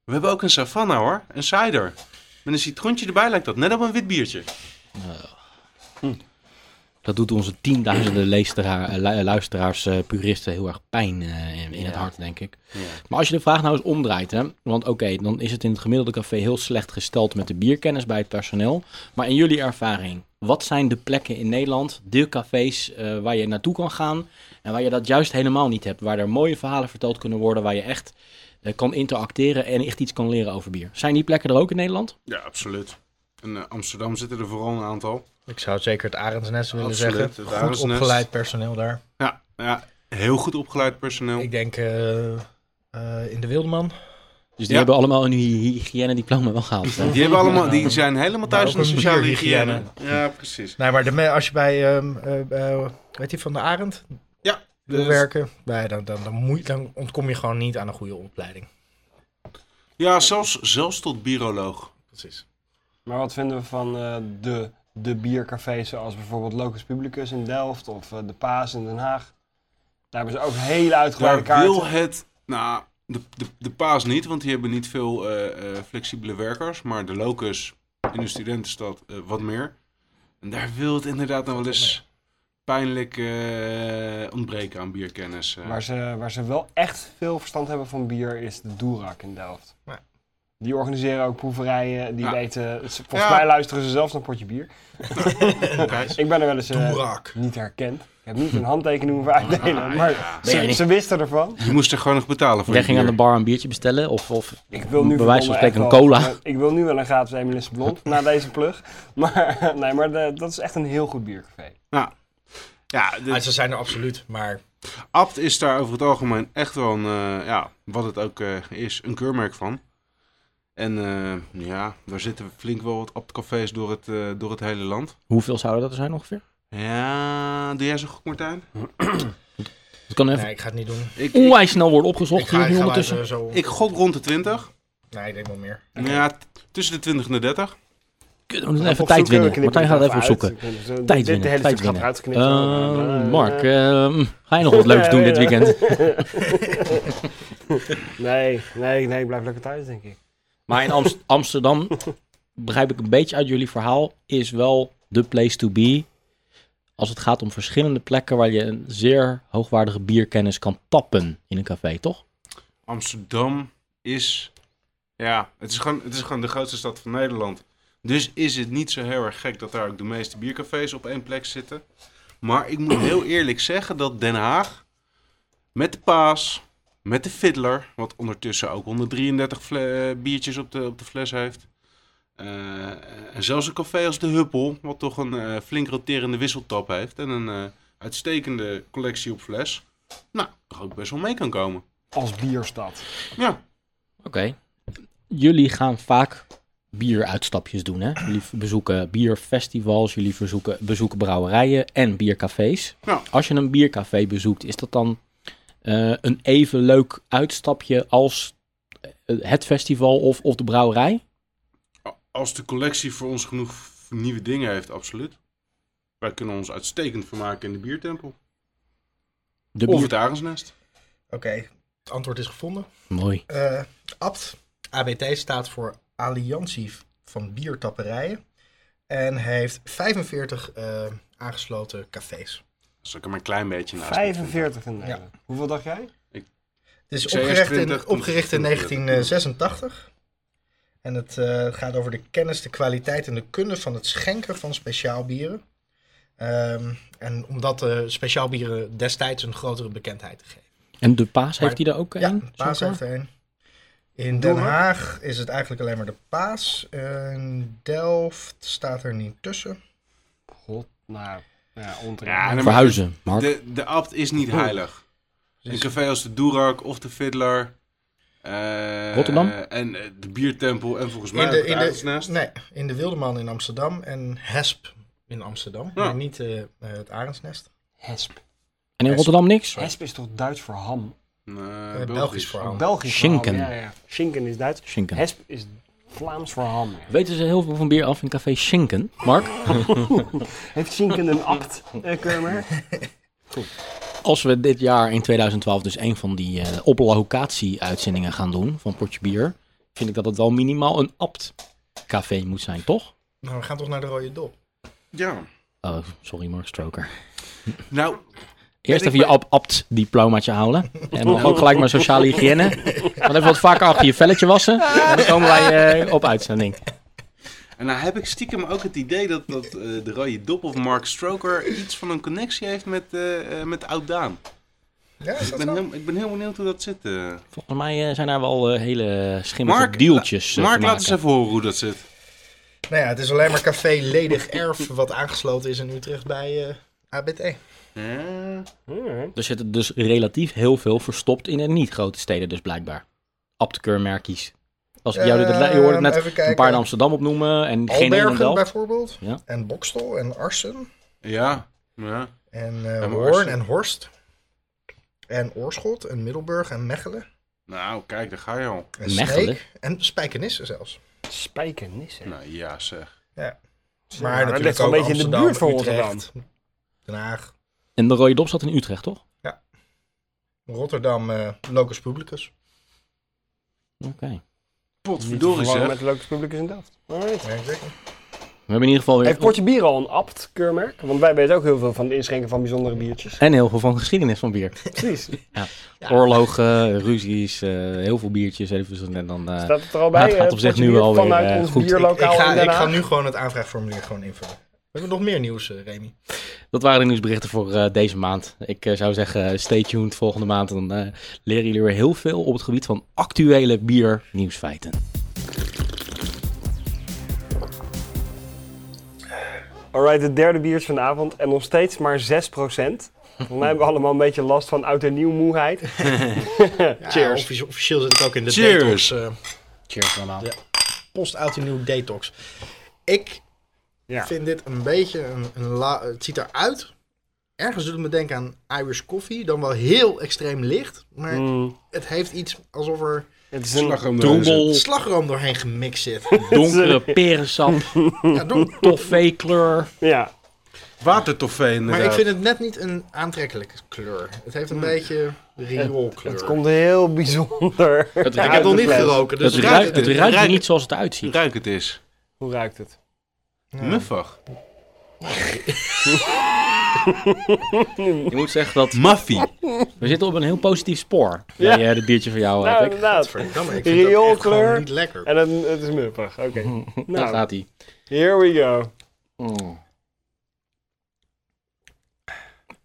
We hebben ook een savanna hoor, een cider. Met een citroentje erbij lijkt dat net op een wit biertje.
Dat doet onze tienduizenden leesteraar- eh, lu- eh, luisteraars, eh, puristen heel erg pijn eh, in, in het hart, denk ik. Maar als je de vraag nou eens omdraait, hè, want oké, dan is het in het gemiddelde café heel slecht gesteld met de bierkennis bij het personeel. Maar in jullie ervaring, wat zijn de plekken in Nederland, de cafés eh, waar je naartoe kan gaan en waar je dat juist helemaal niet hebt? Waar er mooie verhalen verteld kunnen worden, waar je echt eh, kan interacteren en echt iets kan leren over bier. Zijn die plekken er ook in Nederland?
Ja, absoluut. In eh, Amsterdam zitten er vooral een aantal.
Ik zou zeker het Arendsnest willen
Absoluut, het
zeggen. Goed
Arendsnest.
opgeleid personeel daar.
Ja, ja heel goed opgeleid personeel.
Ik denk eh, eh, in de Wildeman.
Dus die
Ja.
hebben allemaal een hy- hygiëne-diploma wel gehaald. eh?
*laughs*
hè?
Die, hebben allemaal, die zijn helemaal thuis
ook
in de
een
sociale
bierhygiëne.
hygiëne. Ja, precies.
Nee, maar de me- als je bij, ehm, eh, eh, weet je, van de Arend
Ja,
wil
dus-
werken, nee, dan, dan, dan, moet, je- dan ontkom je gewoon niet aan een goede opleiding.
Ja, zelfs, zelfs tot bioloog.
Precies.
Maar wat vinden we van eh, de, de biercafés zoals bijvoorbeeld Locus Publicus in Delft of eh, De Paas in Den Haag? Daar hebben ze ook hele uitgebreide
Daar
kaarten.
wil het. Nou, De, de, de Paas niet, want die hebben niet veel eh, eh, flexibele werkers. Maar de Locus in de studentenstad eh, wat meer. En daar wil het inderdaad nog wel eens pijnlijk eh, ontbreken aan bierkennis. eh.
Waar ze, waar ze wel echt veel verstand hebben van bier is de Doerak in Delft.
Ja.
Die organiseren ook proeverijen, die
Ja.
weten... het- Volgens
Ja.
mij luisteren ze zelfs naar Potje Bier.
Prijs.
Ik ben er wel eens eh,
Doerak.
niet herkend. Ik heb niet een handtekening hoeven uitdelen, maar
Ben jij
ze,
niet-
ze wisten ervan.
Je moest er gewoon nog betalen voor.
Jij
je
ging aan de
bier.
bar een biertje bestellen of, of
Ik wil nu
bij wijze van
verdomme
spreken een
echt wel-
cola.
Ik wil nu wel een gratis Emilis Blond na deze plug. *laughs* Maar, nee, maar de- dat is echt een heel goed biercafé.
Nou, ja, de-
Ah, ze zijn er absoluut, maar
Abt is daar over het algemeen echt wel een, eh, ja, wat het ook eh, is, een keurmerk van. En eh, ja, daar zitten flink wel wat Abt-cafés door, het, eh, door het hele land.
hoeveel zouden dat er zijn ongeveer?
Ja, doe jij zo goed, Martijn?
Het kan even
nee, ik ga het niet doen.
Ik, ik,
onwijs snel worden opgezocht
Ik ga,
hier
ik
nu
ga
ondertussen.
luisteren zo.
ik gok rond de 20.
Nee, ik denk wel meer.
Ja, t- tussen de 20 en de 30.
Kut, we moeten even tijd winnen. Martijn gaat even opzoeken. Tijd
Dit, de
winnen,
hele
tijd
stuk gaat
winnen.
eruit geknipt worden.
Eh, Mark, ehm, ga je nog wat leuks doen dit weekend?
Nee, nee, nee, ik blijf lekker thuis, denk ik.
Maar in Amst- Amsterdam, begrijp ik een beetje uit jullie verhaal, is wel de place to be. Als het gaat om verschillende plekken waar je een zeer hoogwaardige bierkennis kan tappen in een café, toch?
Amsterdam is, ja, het is, gewoon, het is gewoon de grootste stad van Nederland. Dus is het niet zo heel erg gek dat daar ook de meeste biercafés op één plek zitten. Maar ik moet heel eerlijk zeggen dat Den Haag met de Paas, met de Fiddler, wat ondertussen ook 133 fle- eh, biertjes op de, op de fles heeft. eh, en zelfs een café als de Huppel, wat toch een eh, flink roterende wisseltap heeft. En een eh, uitstekende collectie op fles. Nou, toch ook best wel mee kan komen.
Als
Nou,
bierstad.
Ja.
Oké. Jullie gaan vaak bieruitstapjes doen, hè? Jullie bezoeken bierfestivals, jullie verzoeken, bezoeken brouwerijen en biercafés.
Nou.
Ja.
Als je een biercafé bezoekt, is dat dan eh, een even leuk uitstapje als eh, het festival of, of de brouwerij?
Als de collectie voor ons genoeg v- nieuwe dingen heeft, absoluut. Wij kunnen ons uitstekend vermaken in de biertempel.
De
Of
bier...
het Arendsnest.
Oké, het antwoord is gevonden.
Mooi.
Eh, ABT, ABT staat voor Alliantie van Biertapperijen. En heeft 45 eh, aangesloten cafés.
Dat is ook maar een klein beetje naast. me vinden.
45 in Nederland. Hoeveel dacht jij?
Het is
Ik zei
opgericht
eerst
in,
20,
opgericht in
toen-
1986. En het eh, gaat over de kennis, de kwaliteit en de kunde van het schenken van speciaalbieren. Ehm, en omdat eh speciaalbieren destijds een grotere bekendheid te geven.
En de paas
Maar-
heeft hij daar ook
Ja,
een?
Paas
Zo'n
heeft er één. In Den Haag is het eigenlijk alleen maar de Paas. En Delft staat er niet tussen.
God, nou, ja,
Ja,
onterecht.
nee, maar
Verhuizen, Mark.
De, de abt is niet heilig.
Dus-
Een café als de Doerak of de Fiddler. eh,
Rotterdam?
En eh, de biertempel en volgens mij
In de,
ook
in,
het Arendsnest.
de, nee, in de Wildeman in Amsterdam en Hesp in Amsterdam. Maar niet eh, eh, het Arendsnest.
Hesp.
En in Rotterdam niks?
Hesp is toch Duits voor ham?
Nee,
Eh,
Nou, Belgisch.
Belgisch verhaal.
Belgisch
Oh, Schinken.
voor ham. Ja, ja. Schinken is Duits.
Schinken.
Hesp is Vlaams voor ham. ja.
Weten ze heel veel van bier af in café Schinken, Mark?
Heeft Schinken een act, eh, Kurmer?
Als we dit jaar in 2012 dus een van die eh, op locatie uitzendingen gaan doen van Potje Bier, vind ik dat het wel minimaal een apt café moet zijn, toch?
Nou, we gaan toch naar de Rode Dop.
Ja.
Oh, sorry Mark Stroker.
Nou,
Eerst
ik
even je ab- apt diplomaatje
*laughs*
halen. En dan ook gelijk maar sociale hygiëne. Want even wat vaker achter je velletje wassen. En dan komen wij eh, op uitzending.
en nou heb ik stiekem ook het idee dat, dat eh, de rode dop of Mark Stroker iets van een connectie heeft met, eh eh, met Oud-Daan.
Ja, is
Ik
dat
ben,
zo?
heel, ik ben heel benieuwd hoe dat zit. eh.
Volgens mij eh, zijn daar wel eh, hele schimmige
Mark,
deeltjes. eh,
Mark,
te
laat
maken.
eens even horen hoe dat zit.
Nou ja, het is alleen maar Café Ledig Erf wat aangesloten is in Utrecht bij eh, ABT.
Er zitten dus relatief heel veel verstopt in de niet-grote steden, dus blijkbaar. Apt-keurmerkies. Als ik jou dit,
Ehm,
je hoorde het
even
net
kijken.
een paar in Amsterdam opnoemen en geen één in
Albergen
Delft.
bijvoorbeeld.
Ja.
En Bokstel en Arsen.
Ja, ja.
En eh
maar
Hoorn
Arsen.
en Horst. En Oorschot en Middelburg en Mechelen.
Nou, kijk, daar ga je al.
En
Mechelen?
Sneek. En Spijkenisse zelfs.
Spijkenissen.
Nou ja, zeg.
Maar
Nou, dat
natuurlijk
ligt wel
ook
een beetje in de
Amsterdam,
buurt van
Utrecht,
Rotterdam.
Den Haag,
En de Rode Dop zat in Utrecht, toch?
Rotterdam, eh Locus Publicus.
Oké.
Potverdorie
Verwarren
zeg.
met het leukste publiek is in Delft. Alright.
Ja, exactly.
We hebben in ieder geval weer...
Heeft Portje Bier al een apt-keurmerk? Want wij weten ook heel veel van het inschenken van bijzondere biertjes.
En heel veel van geschiedenis van
*laughs*
bier.
Precies.
Oorlogen, ruzies, eh, heel veel biertjes. Even en dan, eh,
Staat het er al bij?
Nou, het gaat
eh,
op zich
Portje
nu
Bier
wel weer,
Vanuit
eh,
ons
goed.
Ik,
bierlokaal in
ga,
Den
ik ga
Haag?
nu gewoon het aanvraagformulier gewoon invullen. We hebben nog meer nieuws, eh, Remy.
dat waren de nieuwsberichten voor eh, deze maand. Ik eh, zou zeggen, eh, stay tuned volgende maand. Dan eh, leren jullie weer heel veel op het gebied van actuele biernieuwsfeiten.
Alright, het derde biertje van de avond en nog steeds maar 6%. Volgens mij hebben we allemaal een beetje last van oud en nieuw moeheid. Cheers.
Ja, offici- officieel zit ik ook in de
Cheers.
detox. eh,
Cheers allemaal.
Ja. post oud en nieuw detox. Ik
Ja.
vind dit een beetje een, een la- Het ziet eruit. Ergens doet het me denken aan Irish coffee. Dan wel heel extreem licht. Maar
Mm,
het heeft iets alsof er
het is een,
Slagroom erin
Troebel,
slagroom doorheen gemixt zit.
donkere perensap,
ja, doe-
toffee-kleur.
ja,
zit. Watertoffee inderdaad.
maar ik vind het net niet een aantrekkelijke kleur. Het heeft een beetje rioolkleur.
het komt heel bijzonder.
Het
Ja, ik
ruikt-
heb nog niet
Uit de fles.
geroken. Dus
Het
ruikt-
ruikt, het
het
ruikt
ruikt-
niet zoals het eruit ziet.
Ruik het eens.
Hoe ruikt het?
Muffig.
Ik moet zeggen dat
Muffy.
we zitten op een heel positief spoor.
Ja.
Ja, de biertje van jou, eh,
Nou,
heb ik.
inderdaad.
Gadverdamme, ik vind dat echt
Rioolkleur.
gewoon niet lekker.
En het, het is muppig. Oké.
Daar
Nou,
gaat hij.
here we go.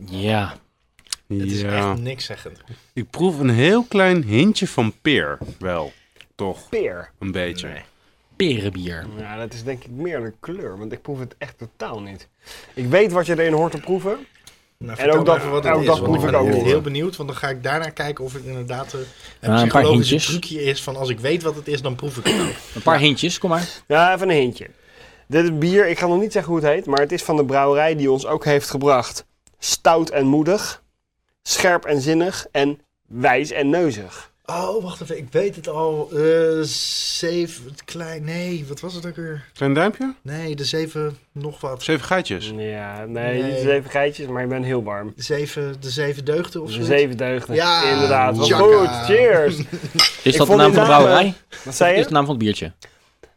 Ja,
Het is
Ja.
echt niks zeggend.
Ik proef een heel klein hintje van peer. Wel, toch?
Peer.
Een beetje.
perenbier.
Ja, dat is denk ik meer een kleur, want ik proef het echt totaal niet. Ik weet wat je erin hoort te proeven.
Nou,
En ook
vertel
dat-
even wat
en
het
ook
is,
dat
want
proef
ben
ik ook
echt
niet.
heel benieuwd, want dan ga ik daarna kijken of het inderdaad eh, een
paar
psychologisch
hintjes.
trucje is van als ik weet wat het is, dan proef ik het ook.
Een paar hintjes, kom maar.
Ja, even een hintje. Dit is bier, ik ga nog niet zeggen hoe het heet, maar het is van de brouwerij die ons ook heeft gebracht. Stout en moedig, scherp en zinnig en wijs en neuzig.
*clears throat* Oh, wacht even, ik weet het al. Eh zeven, het klein, nee, wat was het ook weer?
Klein duimpje?
Nee, de zeven, nog wat.
Zeven geitjes.
Ja, nee,
Nee.
niet zeven geitjes, maar je bent heel warm.
De zeven, de zeven deugden of
De
zo.
zeven deugden.
Ja,
inderdaad. Wat
Jaka.
goed, cheers.
Is dat de naam
vond die
van de
naam,
brouwerij?
Wat zei
Is de
je?
naam van het biertje?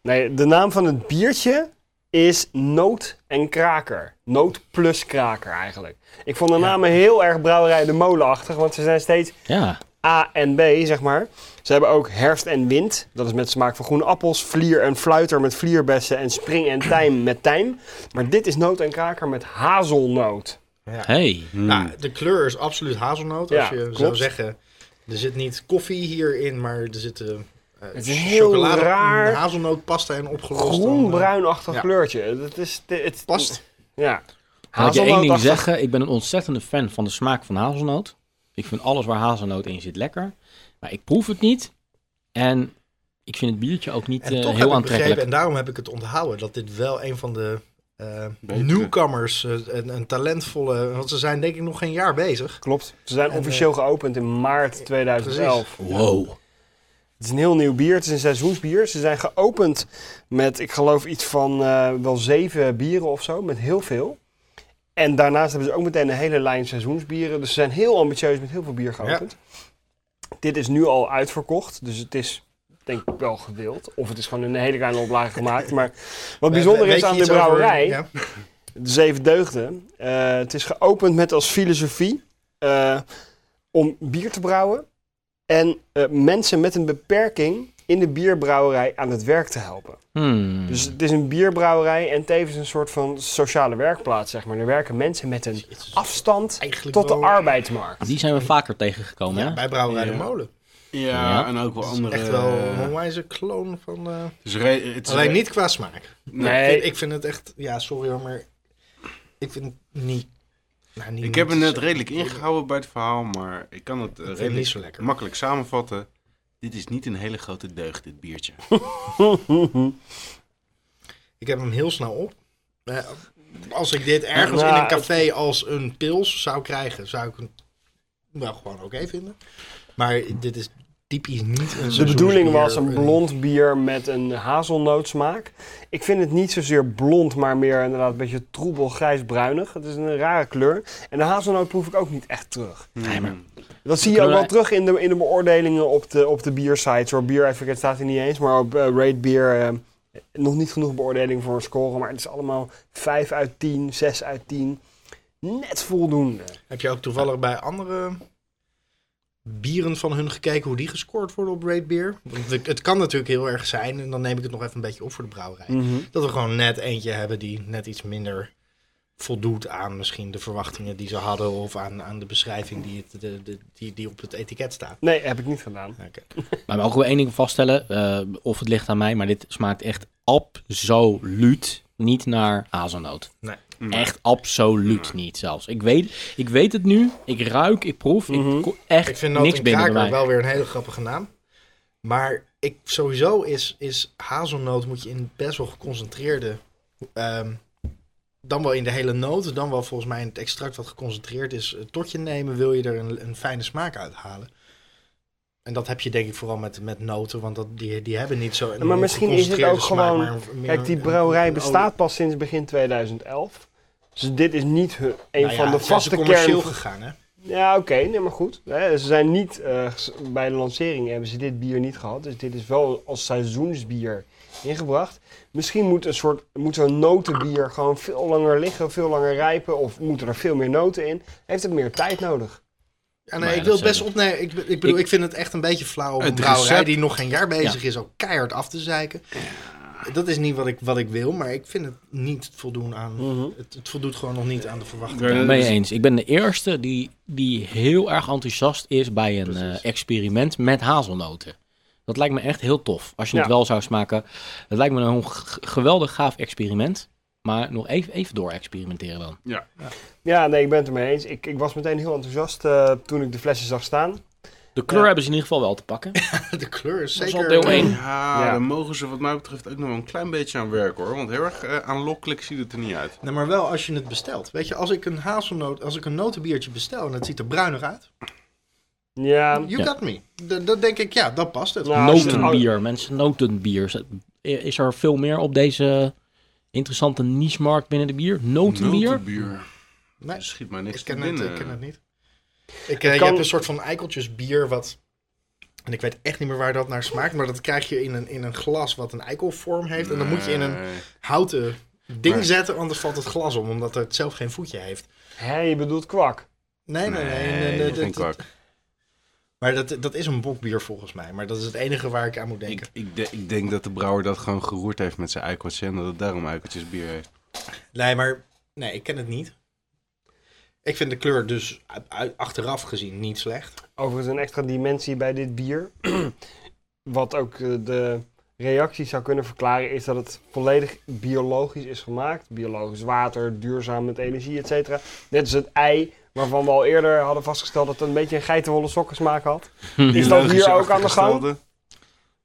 Nee, de naam van het biertje is Noot en Kraker. Noot plus Kraker eigenlijk. Ik vond de namen heel erg brouwerij de molenachtig, want ze zijn steeds
Ja,
A en B, zeg maar. Ze hebben ook herfst en wind. Dat is met smaak van groene appels. Vlier en fluiter met vlierbessen. En spring en tijm met tijm. Maar dit is noot en kraker met hazelnoot.
hey.
Nou, de kleur is absoluut hazelnoot.
Ja,
als je zou
klopt.
zeggen, er zit niet koffie hierin, maar er zit eh, eh,
Het is heel raar.
hazelnootpasta en opgelost. dan, eh,
Groen-bruinachtig
ja.
kleurtje. Het is... Het,
Past.
Ja.
Laat ik je één ding
Hazelnootachtig.
zeggen. Ik ben een ontzettende fan van de smaak van hazelnoot. Ik vind alles waar hazelnoot in zit lekker. Maar ik proef het niet. En ik vind het biertje ook niet
En
eh,
toch heb
heel
ik begrepen,
aantrekkelijk.
en daarom heb ik het onthouden, dat dit wel een van de eh,
Betere.
newcomers, eh, een, een talentvolle, want ze zijn denk ik nog geen jaar bezig.
Klopt. Ze zijn
En, eh,
officieel geopend in maart 2011.
Wow.
Het is een heel nieuw bier. Het is een seizoensbier. Ze zijn geopend met, ik geloof, iets van eh, wel zeven bieren of zo. Met heel veel. En daarnaast hebben ze ook meteen een hele lijn seizoensbieren. Dus ze zijn heel ambitieus met heel veel bier geopend. Dit is nu al uitverkocht. Dus het is, denk ik, wel gedeeld. Of het is gewoon in een hele kleine oplage gemaakt. Maar wat bijzonder
Weet
is
je
aan de
iets over-
brouwerij...
ja?
De Zeven Deugden. Eh, het is geopend met als filosofie eh, om bier te brouwen en eh, mensen met een beperking in de bierbrouwerij aan het werk te helpen.
Hmm.
Dus het is een bierbrouwerij en tevens een soort van sociale werkplaats, zeg maar. Er werken mensen met een afstand
Eigenlijk
tot de
wel-
arbeidsmarkt.
Die zijn we vaker tegengekomen,
Ja,
hè?
bij Brouwerij de
Ja.
Molen.
Ja,
Ja.
en ook wel
Dat is
andere...
echt wel een
eh,
onwijze kloon van... eh,
Het is re- het is
alleen
re-
niet qua smaak. Ik, vind,
Nee,
ik vind het echt, ja, sorry hoor, maar ik vind het niet... nou, niet
Ik heb het
niet
net
zo-
redelijk ingehouden bij het verhaal, maar ik kan het eh,
vind het
redelijk
niet zo lekker.
makkelijk samenvatten. Dit is niet een hele grote deugd, dit biertje.
Ik heb hem heel snel op. Eh, Als ik dit ergens
Nou,
in een café als een pils zou krijgen, zou ik hem wel gewoon oké vinden. Maar dit is typisch niet een Eh,
de bedoeling was een
seizoensbier,
blond bier met een hazelnootsmaak. Ik vind het niet zozeer blond, maar meer inderdaad een beetje troebel grijs-bruinig. Het is een rare kleur. En de hazelnoot proef ik ook niet echt terug.
Nee, maar
Dat zie je ook
Kunnen
wel
wij-
terug in de, in de beoordelingen op de, op de biersites. Hoor. Beer Advocate staat er niet eens, maar op eh Rate Beer eh, nog niet genoeg beoordelingen voor een score. Maar het is allemaal 5 uit 10, 6 uit 10. Net voldoende.
Heb je ook toevallig bij andere bieren van hun gekeken hoe die gescoord worden op Rate Beer? Want het- het kan natuurlijk heel erg zijn, en dan neem ik het nog even een beetje op voor de brouwerij. Dat we gewoon net eentje hebben die net iets minder voldoet aan misschien de verwachtingen die ze hadden of aan, aan de beschrijving die, het, de, de- die, die op het etiket staat.
Nee, heb ik niet gedaan.
Oké.
Maar we mogen wel één ding vaststellen, eh, of het ligt aan mij, maar dit smaakt echt absoluut niet naar hazelnoot.
Nee.
Echt absoluut niet zelfs. Ik weet, ik weet het nu, ik ruik, ik proef,
Mhm.
ik ko- echt
Ik vind Noot
niks
en
binnen bij
Kraker
mij.
wel weer een hele grappige naam. Maar ik, sowieso is, is hazelnoot moet je in best wel geconcentreerde... ehm, dan wel in de hele noot, dan wel volgens mij in het extract wat geconcentreerd is... eh, tot je nemen, wil je er een, een fijne smaak uithalen. En dat heb je denk ik vooral met, met noten, want dat, die, die hebben niet zo... een
Maar misschien is het
geconcentreerde
ook gewoon-
maar een- meer
Kijk, die
een- Nou
brouwerij
een-
bestaat pas sinds begin 2011. Dus dit is niet hun, een
Nou ja,
van de
het zijn ze
vaste
commercieel
kern.
gegaan, hè?
Ja, oké, nee, maar goed. Hè, Ze zijn niet, eh, ges- bij de lancering hebben ze dit bier niet gehad. Dus dit is wel als seizoensbier ingebracht. Misschien moet, een soort, moet zo'n notenbier gewoon veel langer liggen, veel langer rijpen. Of moeten er veel meer noten in. Heeft het meer tijd nodig.
Maar
Ja, nee,
ja,
ik wil
dat
het best
zijn
opnemen. Ik, be- ik bedoel,
Ik-
ik, vind het echt een beetje flauw om
Het
een brouwerij
recept-
die nog geen jaar bezig is ook keihard af te zeiken. Dat is niet wat ik, wat ik wil, maar ik vind het niet voldoen aan...
Mhm.
Het, het voldoet gewoon nog niet aan de verwachting.
Ja,
Ik ben
dat
je
is-
eens. Ik ben de eerste die, die heel erg enthousiast is bij een eh, experiment met hazelnoten. Dat lijkt me echt heel tof. Als je het
Ja.
wel zou smaken. Dat lijkt me een g- geweldig gaaf experiment. Maar nog even, even door experimenteren dan.
Ja, nee, ik ben het ermee eens. Ik, ik was meteen heel enthousiast eh, toen ik de flessen zag staan.
De kleur
Ja.
hebben ze in ieder geval wel te pakken.
*laughs* De kleur is
Dat
zeker...
is al deel één.
Ja,
Ja.
daar mogen ze wat mij betreft ook nog wel een klein beetje aan werken hoor. Want heel erg eh, aanlokkelijk ziet het er niet uit.
Nee, maar wel als je het bestelt. Weet je, als ik een hazelnoot, als ik een notenbiertje bestel en het ziet er bruinig uit,
Ja,
you got me. D- Dan denk ik, ja, dan past het.
Nou, als je-
Notenbier, mensen. Notenbier. Z- Is er veel meer op deze interessante niche-markt binnen de bier? Notenbier?
Notenbier.
Nee,
Er Schiet mij niks
Ik ken,
te
het,
binnen.
ik ken het niet. Ik, eh, Je
kan-
hebt een soort van eikeltjesbier wat... En ik weet echt niet meer waar dat naar smaakt. Maar dat krijg je in een, in een glas wat een eikelvorm heeft. En dan moet je in een
Nee.
houten ding
Nee.
zetten. Anders valt het glas om. Omdat het zelf geen voetje heeft.
Hé, je bedoelt kwak.
Nee, nee, nee. nee, nee,
dat is
dat-
geen kwak.
maar dat, dat is een bokbier volgens mij. Maar dat is het enige waar ik aan moet denken.
Ik, ik, de- ik denk dat de brouwer dat gewoon geroerd heeft met zijn eikeltje en dat het daarom eikeltjes bier heeft.
Nee, maar... Nee, ik ken het niet. Ik vind de kleur dus uit- uit- achteraf gezien niet slecht.
Overigens een extra dimensie bij dit bier. *clears throat* Wat ook eh, de reactie zou kunnen verklaren, is dat het volledig biologisch is gemaakt. Biologisch water, duurzaam met energie, et cetera. Net als het ei, waarvan we al eerder hadden vastgesteld dat het een beetje een geitenwolle sokken smaak had. Is dat hier ook aan de gang?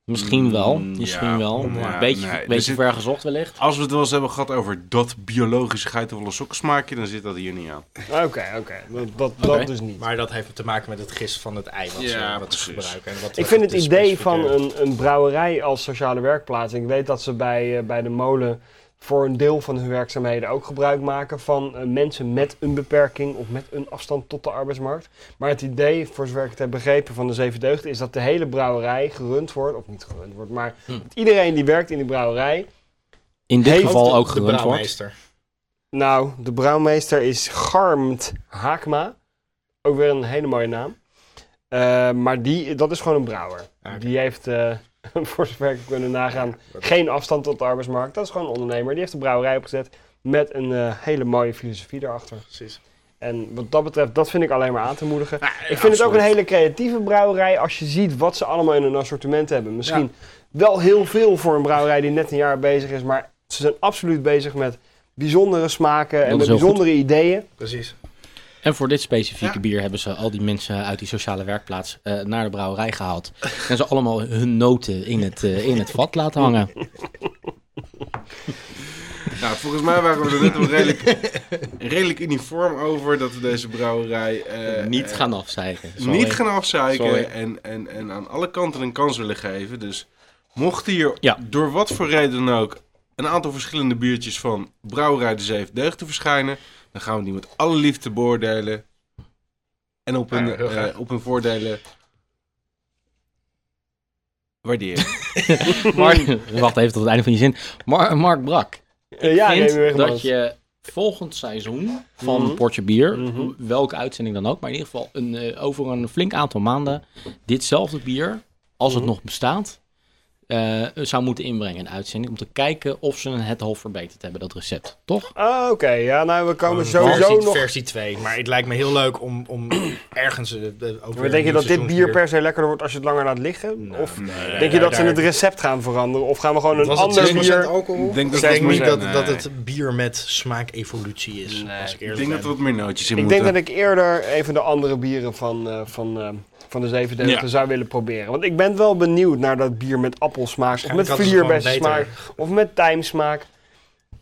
Misschien wel.
Mm,
Misschien
ja.
wel.
Ja,
een beetje,
nee, dus er
beetje
zit-
ver gezocht wellicht.
Als we het wel eens hebben gehad over dat biologische geitenwolle sokkensmaakje, dan zit dat hier niet aan.
Oké, *laughs* oké. Dat, dat,
Oké.
dat dus niet.
Maar dat heeft te maken met het gist van het ei wat,
Ja,
ze, wat ze
precies.
gebruiken. En wat
Ik vind
wat
het
de
idee van
specificateurs-
een, een brouwerij als sociale werkplaats. Ik weet dat ze bij, eh, bij de molen voor een deel van hun werkzaamheden ook gebruik maken van eh, mensen met een beperking of met een afstand tot de arbeidsmarkt. Maar het idee, voor zover ik het heb begrepen van de Zeven Deugden, is dat de hele brouwerij gerund wordt, of niet gerund wordt, maar
Hm.
dat iedereen die werkt in die brouwerij.
In dit
Heeft
geval
de-
ook
de
gerund wordt.
brouwmeester.
Nou, de brouwmeester is Garmt Haakma. Ook weer een hele mooie naam. Eh, maar die, dat is gewoon een brouwer.
Ah, Oké.
Die heeft, eh, *laughs* voor zover ik kunnen nagaan, geen afstand tot de arbeidsmarkt. Dat is gewoon een ondernemer. Die heeft een brouwerij opgezet met een eh, hele mooie filosofie daarachter.
Precies.
En wat dat betreft, dat vind ik alleen maar aan te moedigen.
Ja,
ik vind het ook
absoluut.
een hele creatieve brouwerij als je ziet wat ze allemaal in hun assortiment hebben. Misschien wel heel veel voor een brouwerij die net een jaar bezig is, maar ze zijn absoluut bezig met bijzondere smaken en
is
met
heel goed.
bijzondere ideeën.
Precies.
En voor dit specifieke bier hebben ze al die mensen uit die sociale werkplaats eh, naar de brouwerij gehaald. En ze allemaal hun noten in het, eh, in het vat laten hangen.
Nou, volgens mij waren we er net wel redelijk, redelijk uniform over dat we deze brouwerij eh,
niet
eh,
gaan afzeiken. Sorry.
niet gaan
Sorry.
afzeiken en, en, en aan alle kanten een kans willen geven. Dus mocht hier
Ja.
door wat voor reden dan ook een aantal verschillende biertjes van Brouwerij de Zeef Deugd te verschijnen, dan gaan we die met alle liefde beoordelen. en op hun,
Ja, heel graag.
eh, op hun voordelen
*laughs*
waarderen.
Mark, *laughs* wacht even tot het einde van je zin. Mar- Mark Brak.
Eh, ja,
vindt
Remy Wegemans.
dat je volgend seizoen van
Mhm.
Portje Bier,
Mhm.
welke uitzending dan ook, maar in ieder geval een, eh, over een flink aantal maanden, ditzelfde bier, als
Mhm.
het nog bestaat, eh, zou moeten inbrengen in de uitzending. Om te kijken of ze het al verbeterd hebben, dat recept. Toch?
Ah, oké. Ja, nou, we
Oh,
komen sowieso
Versie,
nog...
versie 2. Maar het lijkt me heel leuk om, om ergens eh, eh, over...
Maar denk je
nieuw
dat dit bier
seizoensbier-
per se lekkerder wordt als je het langer laat liggen? of
Nee,
denk je dat
daar-
ze het recept gaan veranderen? Of gaan we gewoon een
Was het
ander
6%
bier...
alcohol?
Ik denk dat
ik
het
denk niet dat,
nee.
dat het bier met smaakevolutie is. als ik
Ik
eerlijk
denk
ben.
dat er wat meer nootjes in
Ik
moeten.
denk dat ik eerder even de andere bieren van, eh, van, eh, van de zeven delen
Ja.
zou willen proberen. Want ik ben wel benieuwd naar dat bier met appelsmaak, of met
Waarschijnlijk hadden ze gewoon
vlierbessensmaak, of met tijmsmaak.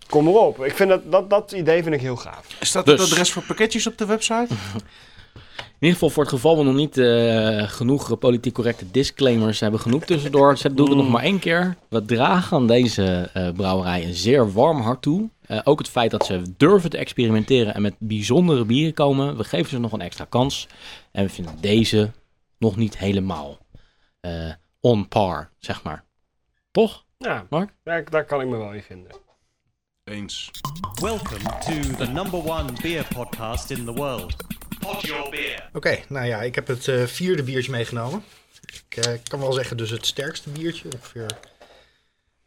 Kom maar op. Ik vind dat, dat, dat idee vind ik heel gaaf.
Staat
Dus.
het adres voor pakketjes op de
*laughs*
website?
In ieder geval voor het geval we nog niet eh, genoeg eh, politiek correcte disclaimers hebben genoemd tussendoor, *laughs* zet- doen we het nog maar één keer. We dragen aan deze eh, brouwerij een zeer warm hart toe. Eh, ook het feit dat ze durven te experimenteren en met bijzondere bieren komen. We geven ze nog een extra kans. En we vinden deze nog niet helemaal eh, on par, zeg maar. Toch?
Ja,
Mark?
Daar, daar kan ik me wel in vinden.
Eens.
Welcome to the number one beer podcast in the world. Pod your beer.
Oké, nou ja, ik heb het eh, vierde biertje meegenomen. Ik eh, kan wel zeggen, dus het sterkste biertje ongeveer.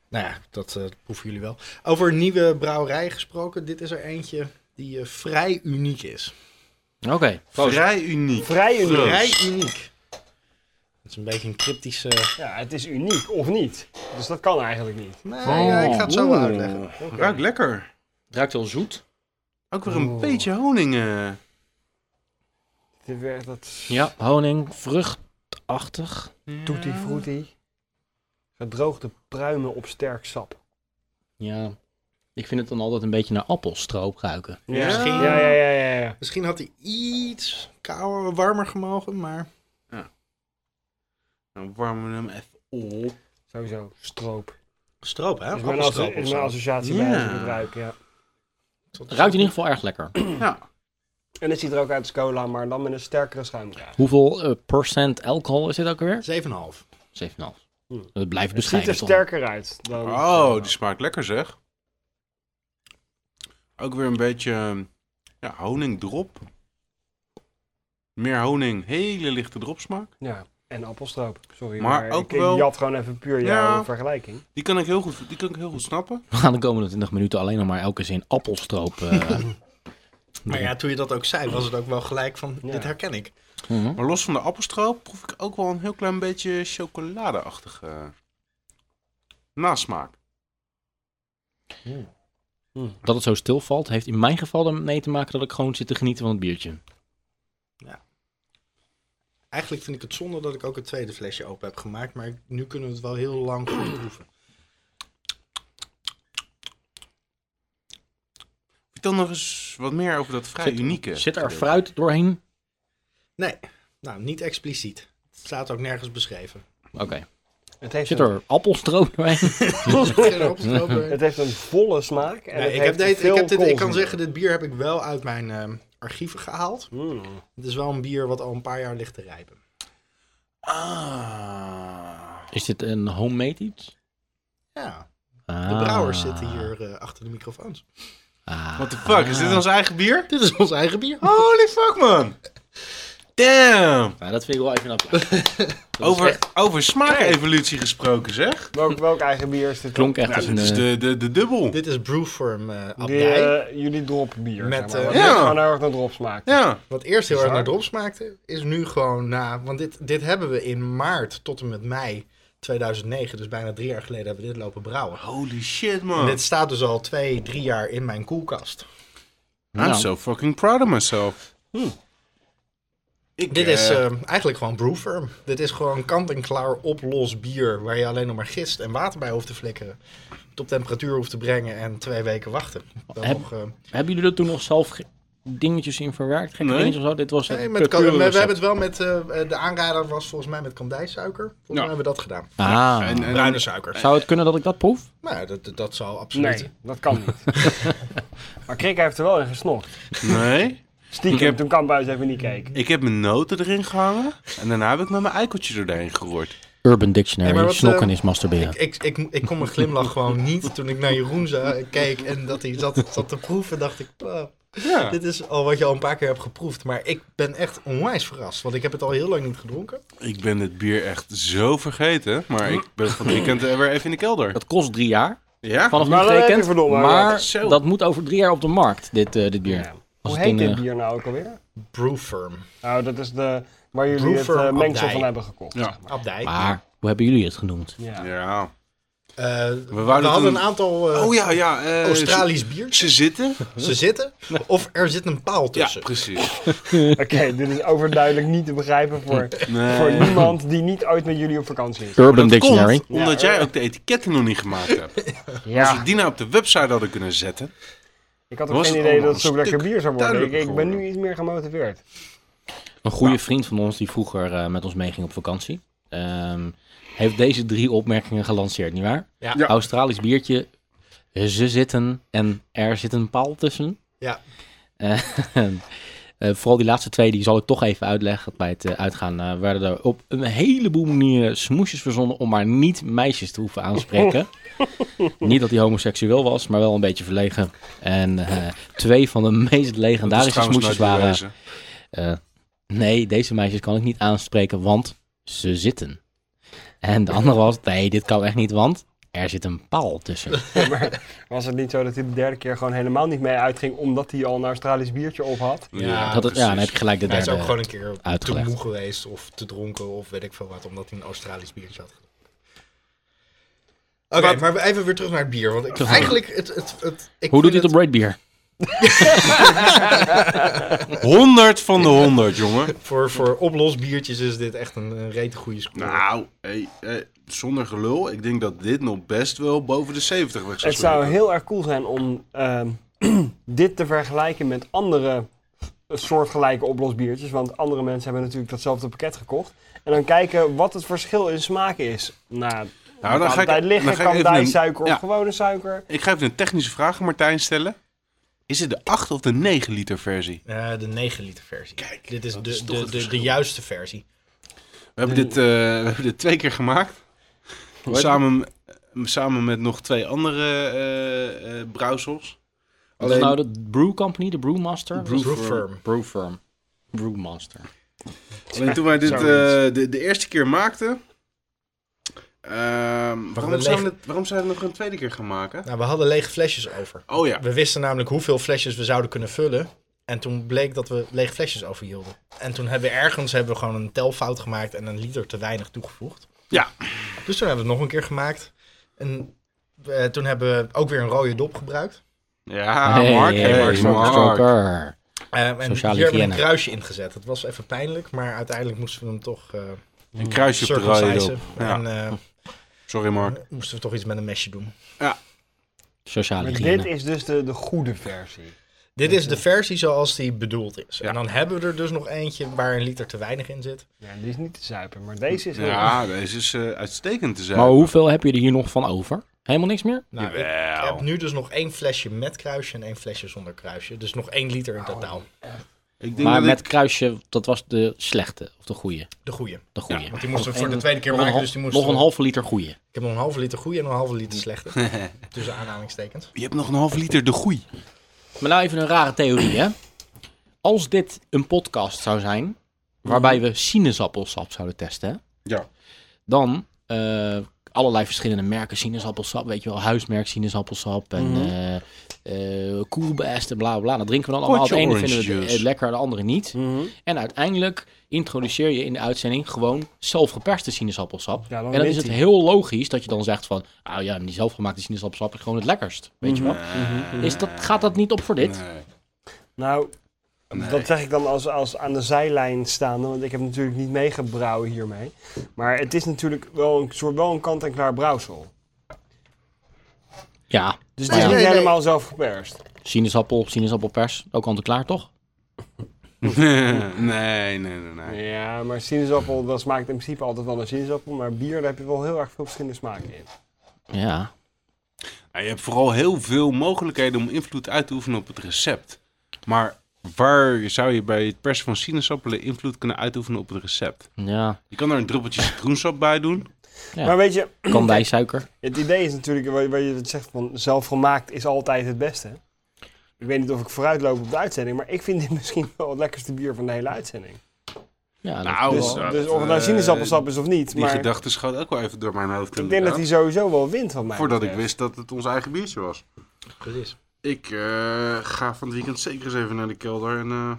Nou ja, dat eh, proeven jullie wel. Over nieuwe brouwerij gesproken, dit is er eentje die eh, vrij uniek is.
Oké.
Vrij uniek.
Vrij uniek.
Vrij uniek. Dat is een beetje een cryptische...
Ja, het is uniek, of niet? Dus dat kan eigenlijk niet.
Nee, Nou ja,
Oh.
ik ga het zo wel uitleggen.
Ruikt lekker.
Ruikt heel zoet.
Ook weer een
Oh.
beetje honing. eh.
Dit werd dat
Ja, honing, vruchtachtig.
tutti frutti. Gedroogde pruimen op sterk sap.
Ja. Ik vind het dan altijd een beetje naar appelstroop ruiken.
Ja.
ja, ja, ja. ja, ja.
Misschien had hij iets kouder, warmer gemogen, maar...
Dan Nou, warmen we hem even op. *clears throat*
Sowieso, stroop.
Stroop, hè?
Is mijn, asso-
Appelstroop of
is
zo.
mijn associatie bij
Ja.
als ik het ruik, ja.
Ruikt in ieder geval erg lekker.
Ja.
En het ziet er ook uit als cola, maar dan met een sterkere
*clears throat*
schuimkraag.
Hoeveel eh, procent alcohol is dit ook alweer?
7,5.
7,5.
Hm.
Dat blijft
Het ziet er
bescheiden toch?
sterker uit dan... eh,
Oh, die smaakt lekker zeg. Ook weer een beetje eh, ja, honingdrop. Meer honing, hele lichte dropsmaak.
Ja, en appelstroop. Sorry,
Maar
maar,
ook
ik,
wel-
ik jat gewoon even puur
Ja.
jouw vergelijking.
Die kan ik heel goed, die kan ik heel goed snappen.
We gaan de komende 20 minuten alleen nog maar elke zin appelstroop. eh,
Maar ja, toen je dat ook zei, was het ook wel gelijk van,
Ja.
dit herken ik.
mhm.
Maar los van de appelstroop proef ik ook wel een heel klein beetje chocoladeachtige eh, nasmaak.
Dat het zo stilvalt heeft in mijn geval ermee te maken dat ik gewoon zit te genieten van het biertje.
Eigenlijk vind ik het zonde dat ik ook het tweede flesje open heb gemaakt, maar ik- nu kunnen we het wel heel lang goed proeven.
Vertel nog eens wat meer over dat vrij
Zit-
unieke.
Zit er
gedeelte.
fruit doorheen?
Nee, nou, niet expliciet. Het staat ook nergens *laughs* beschreven.
Oké.
Het heeft,
Zit
een,
er appelstroop doorheen?
Geen opgeslopen.
het heeft een volle smaak en
Nee,
het
ik, heb
heeft
dit, ik,
veel
heb dit, ik kan
koolzuur.
zeggen, dit bier heb ik wel uit mijn ehm, archieven gehaald.
Mm.
Het is wel een bier wat al een paar jaar ligt te rijpen.
Ah.
Is dit een homemade iets?
Ja, de
Ah.
brouwers zitten hier eh, achter de microfoons.
Ah.
What the fuck, is dit ons eigen bier?
Dit is ons eigen bier.
Holy fuck man! Damn!
Nou, dat vind ik wel even een applaus. Dat is
Over,
echt-
over smaakevolutie gesproken zeg.
Welk, welk eigen bier is dit?
klonk echt
Ja,
als
dit
een...
is dus
eh,
de, de, de dubbel.
Dit is Brewform eh
Die,
Abdij.
eh, jullie dropbier,
Met,
zeg maar. Wat
eh,
ja.
net gewoon heel erg naar drop smaakt.
Ja,
Wat eerst heel erg
Bizar.
naar drop smaakte, is nu gewoon na. Want dit, dit hebben we in maart tot en met mei 2009, dus bijna drie jaar geleden, hebben we dit lopen brouwen.
holy shit
En
man.
dit staat dus al twee, drie jaar in mijn koelkast.
I'm
Nou.
so fucking proud of myself. Ik,
Dit is
eh,
eh, eigenlijk gewoon brewfirm. Dit is gewoon kant-en-klaar oplos bier waar je alleen nog maar gist en water bij hoeft te flikkeren. Het op temperatuur hoeft te brengen en twee weken wachten. Dan
Heb-
nog, eh,
Hebben jullie er toen nog zelf ge- dingetjes in verwerkt? Gekke
Nee.
dingetjes of zo? Dit was
nee,
het
met, kan- we,
pure
we
recept.
hebben het wel met eh, de aanrader was volgens mij met kandijsuiker. Volgens mij hebben we dat gedaan.
Ah.
en, en,
Bruine suiker.
Zou het kunnen dat ik dat proef?
Nou, dat, dat- dat zal absoluut. *laughs*
Nee, dat kan niet. maar Krik heeft er wel in gesnokt.
nee.
Stiekem
heb-
toen Kamphuis even niet keek.
Ik heb mijn noten erin gehangen en daarna heb ik met mijn eikeltje erheen geroerd.
Urban Dictionary,
Hey, maar wat,
snokken
eh,
is masturberen.
Ik, ik, ik kon mijn glimlach gewoon
*laughs*
niet toen ik naar Jeroen za- keek en dat hij zat, zat te proeven. Dacht ik, "Wow,
Ja.
dit is al wat je al een paar keer hebt geproefd. Maar ik ben echt onwijs verrast, want ik heb het al heel lang niet gedronken.
Ik ben dit bier echt zo vergeten, maar ik ben van het weekend eh, weer even in de kelder.
Dat kost drie jaar,
Ja?
vanaf
Maar
nu
dan heb je
getekend.
verdomme,
maar
wat.
Zo.
dat moet over drie jaar op de markt, dit, eh, dit bier.
Ja.
Als
Hoe
het
heet
in,
dit
eh,
bier nou ook alweer?
Brewfirm,
Nou, dat is de, waar jullie
Brewfirm
het eh, mengsel
Abdij.
van hebben gekocht.
Ja.
zeg maar.
Abdijk.
Maar, hoe hebben jullie het genoemd?
Ja.
Ja.
Eh, we
wouden
hadden
toen-
een aantal eh,
Oh ja, ja. eh,
Australisch
Ze,
biertjes.
ze zitten?
Ze
*laughs*
zitten, of er zit een paal
Ja,
tussen.
precies.
Oké, dit is overduidelijk niet te begrijpen
*laughs*
voor,
Nee.
voor niemand die niet ooit met jullie op vakantie is.
Urban
Dat komt
Dictionary.
omdat
Ja.
jij ook de etiketten nog niet gemaakt hebt. Als we
Ja,
die nou op de website hadden kunnen zetten.
ik had ook
was
geen
het
idee dat
allemaal
het zo
een
lekker
stuk
bier zou worden. Ik, ik ben
duidelijker
nu iets meer gemotiveerd.
Een goede vriend van ons die vroeger eh, met ons meeging op vakantie. ehm, heeft deze drie opmerkingen gelanceerd, nietwaar?
Ja.
Ja.
Australisch biertje, ze zitten en er zit een paal tussen.
Ja.
Eh, *laughs* eh, vooral die laatste twee, die zal ik toch even uitleggen. Bij het eh, uitgaan eh, werden er op een heleboel manieren smoesjes verzonnen om maar niet meisjes te hoeven
*laughs*
aanspreken. niet dat hij homoseksueel was, maar wel een beetje verlegen. En eh, twee van de meest
Dat is
legendarische
trouwens
smoesjes
nooit eh,
waren...
bewezen.
Eh, nee, deze meisjes kan ik niet aanspreken, want ze zitten. En de andere was, nee, dit kan echt niet, want er zit een paal tussen.
Maar was het niet zo dat hij de derde keer gewoon helemaal niet mee uitging omdat hij al een Australisch biertje op had?
Ja,
Dat het, ja, dan heb ik gelijk de
Hij is
derde.
ook gewoon een keer
uitgelegd.
te moe geweest of te dronken of weet ik veel wat, omdat hij een Australisch biertje had gedronken. Oké, maar even weer terug naar het bier. Want ik,
Terug.
eigenlijk, het, het, het, ik
Hoe doet
vind
dit op Braid Beer?
*laughs* 100 van de 100, jongen.
Voor, voor oplosbiertjes is dit echt een, een rete goede score.
*laughs* Nou, hey, eh, zonder gelul. Ik denk dat dit nog best wel boven de 70 weg zou
Het zou
spelen.
heel erg cool zijn om ehm, *clears throat* dit te vergelijken met andere soortgelijke oplosbiertjes. Want andere mensen hebben natuurlijk datzelfde pakket gekocht. En dan kijken wat het verschil in smaak is. Nou,
dan
nou
ga ik-
bij liggen
dan ga ik
kan
even
bij
een-
suiker
ja.
of gewone suiker.
Ik ga even een technische vraag aan Martijn stellen. Is het de 8 of de 9 liter versie?
Eh, de 9 liter versie.
Kijk,
dit is,
dat
de,
is toch
de,
het
de, de
verschil.
juiste versie.
We hebben, dit, eh, we hebben dit twee keer gemaakt. Samen, samen met nog twee andere eh eh brouwsels.
Wat is nou de Brew Company, de Brewmaster?
Brewfirm.
Brewfirm. Brewmaster.
Alleen toen wij dit eh,
Zoiets.
de, de eerste keer maakten. ehm, waarom,
we
zijn we
leeg-
het, waarom zijn we het nog een tweede keer gaan maken?
Nou, we hadden lege flesjes over.
Oh ja.
We wisten namelijk hoeveel flesjes we zouden kunnen vullen. En toen bleek dat we lege flesjes overhielden. En toen hebben we ergens hebben we gewoon een telfout gemaakt en een liter te weinig toegevoegd.
Ja.
Dus toen hebben we het nog een keer gemaakt. En eh, toen hebben we ook weer een rode dop gebruikt. Ah,
Ja, Mark.
Hey,
Hey,
Mark
Mark.
Stroker.
Eh, en
Sociale
hier hebben we
hygiëne.
een kruisje in gezet. Dat was even pijnlijk, maar uiteindelijk moesten we hem toch eh
Een kruisje op de rode
circumcisen.
dop. Ja.
En eh,
Sorry Mark.
moesten we toch iets met een mesje doen.
Sociale
Maar
hygiëne.
dit is dus de, de goede versie.
Dit is de versie zoals die bedoeld is.
Ja.
En dan hebben we er dus nog eentje waar een liter te weinig in zit.
Ja, die is niet te zuipen, maar deze is heel erg.
Ja, deze is eh, uitstekend te zijn.
Maar hoeveel heb je er hier nog van over? Helemaal niks meer?
Nou, ik
Jawel.
heb nu dus nog één flesje met kruisje en één flesje zonder kruisje. Dus nog één liter in totaal.
Ik denk
Maar
dat
met
ik-
kruisje, dat was de slechte. Of de goeie.
De goeie.
De goeie.
Want die moesten
Nog
we voor de
een-
tweede keer
nog een
maken,
hal-
dus die moesten
Nog een
we-
halve liter goeie.
Ik heb nog een halve liter goeie en een halve
*laughs*
liter slechte. Tussen aanhalingstekens.
Je hebt nog een half liter de goei.
Maar nou even een rare theorie, hè? Als dit een podcast zou zijn, waarbij we sinaasappelsap zouden testen, hè,
Ja.
dan eh, allerlei verschillende merken sinaasappelsap, weet je wel, huismerk sinaasappelsap en
Mhm.
eh eh, Cool Best en bla bla, bla. Dat drinken we dan allemaal.
Potje
het ene
orange
vinden we het,
juice.
eh, lekker, de andere niet.
Mhm.
En uiteindelijk introduceer je in de uitzending gewoon zelfgeperste sinaasappelsap.
Ja, dan
en dan is
wint
het
hij.
heel logisch dat je dan zegt van, ah ja, die zelfgemaakte sinaasappelsap is gewoon het lekkerst, weet je wel. Is dat, gaat dat niet op voor Mhm. dit?
Mhm. Nee.
Nou, dat zeg ik dan als, als aan de zijlijn staande, want ik heb natuurlijk niet meegebrouwen hiermee. Maar het is natuurlijk wel een soort wel een kant-en-klaar brouwsel.
Ja,
Dus
Nou
het is
ja.
niet
Nee, nee.
helemaal zelf geperst.
Sinaasappel, sinaasappelpers, ook al te klaar, toch?
*laughs* nee, nee, nee, nee.
Ja, maar sinaasappel, dat smaakt in principe altijd wel een sinaasappel. Maar bier, daar heb je wel heel erg veel verschillende smaken in.
Ja.
Nou, je hebt vooral heel veel mogelijkheden om invloed uit te oefenen op het recept. Maar Waar zou je bij het persen van sinaasappelen invloed kunnen uitoefenen op het recept?
Ja,
Je kan er een
*laughs*
druppeltje citroensap bij doen.
Ja.
Maar weet je,
kandijsuiker.
het idee is natuurlijk, waar waar je het zegt van zelfgemaakt is altijd het beste. Ik weet niet of ik vooruitloop op de uitzending, maar ik vind dit *laughs* misschien wel het lekkerste bier van de hele uitzending.
Ja, dat-
Nou,
dus,
dat,
dus of het
eh,
nou sinaasappelsap is of niet,
Die
maar
gedachte schoot ook wel even door mijn hoofd.
ik denk dat hij sowieso wel wint van mij.
Voordat ik
betreft.
wist dat het ons eigen biertje was.
Precies.
Ik eh, ga van het weekend zeker eens even naar de kelder. En, eh,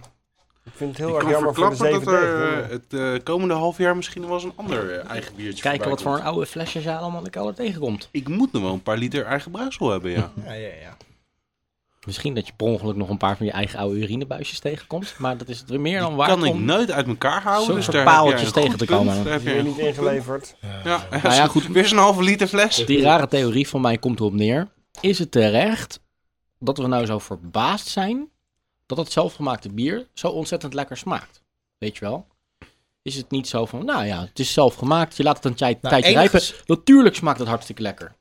Ik vind het
ik
heel erg
kan
jammer voor de
verklappen dat
7
er eh, het eh, komende half jaar misschien wel eens een ander eh, eigen biertje
Kijken
voorbij
wat voor
komt.
een oude flesjes je allemaal in de kelder tegenkomt.
Ik moet nog wel een paar liter eigen bruisel hebben, ja.
Ja, ja, ja.
Misschien dat je per ongeluk nog een paar van je eigen oude urinebuisjes tegenkomt. Maar dat is het weer meer dan waar.
kan ik
om-
nooit uit elkaar houden.
Zo'n
dus
soort
daar heb jij
paaltjes
een
tegen
goed
te
punt,
komen.
daar heb
Die
je
weer
een
niet
goed punt.
ingeleverd.
Ja,
Nou ja, goed.
*laughs* Weer zo'n halve liter fles.
Die rare theorie van mij komt erop neer. Is het terecht dat we nou zo verbaasd zijn dat het zelfgemaakte bier zo ontzettend lekker smaakt? Weet je wel? Is het niet zo van, nou ja, het is zelfgemaakt, je laat het een tij-
Nou,
tijdje rijpen.
enigszins-
Natuurlijk smaakt het hartstikke lekker.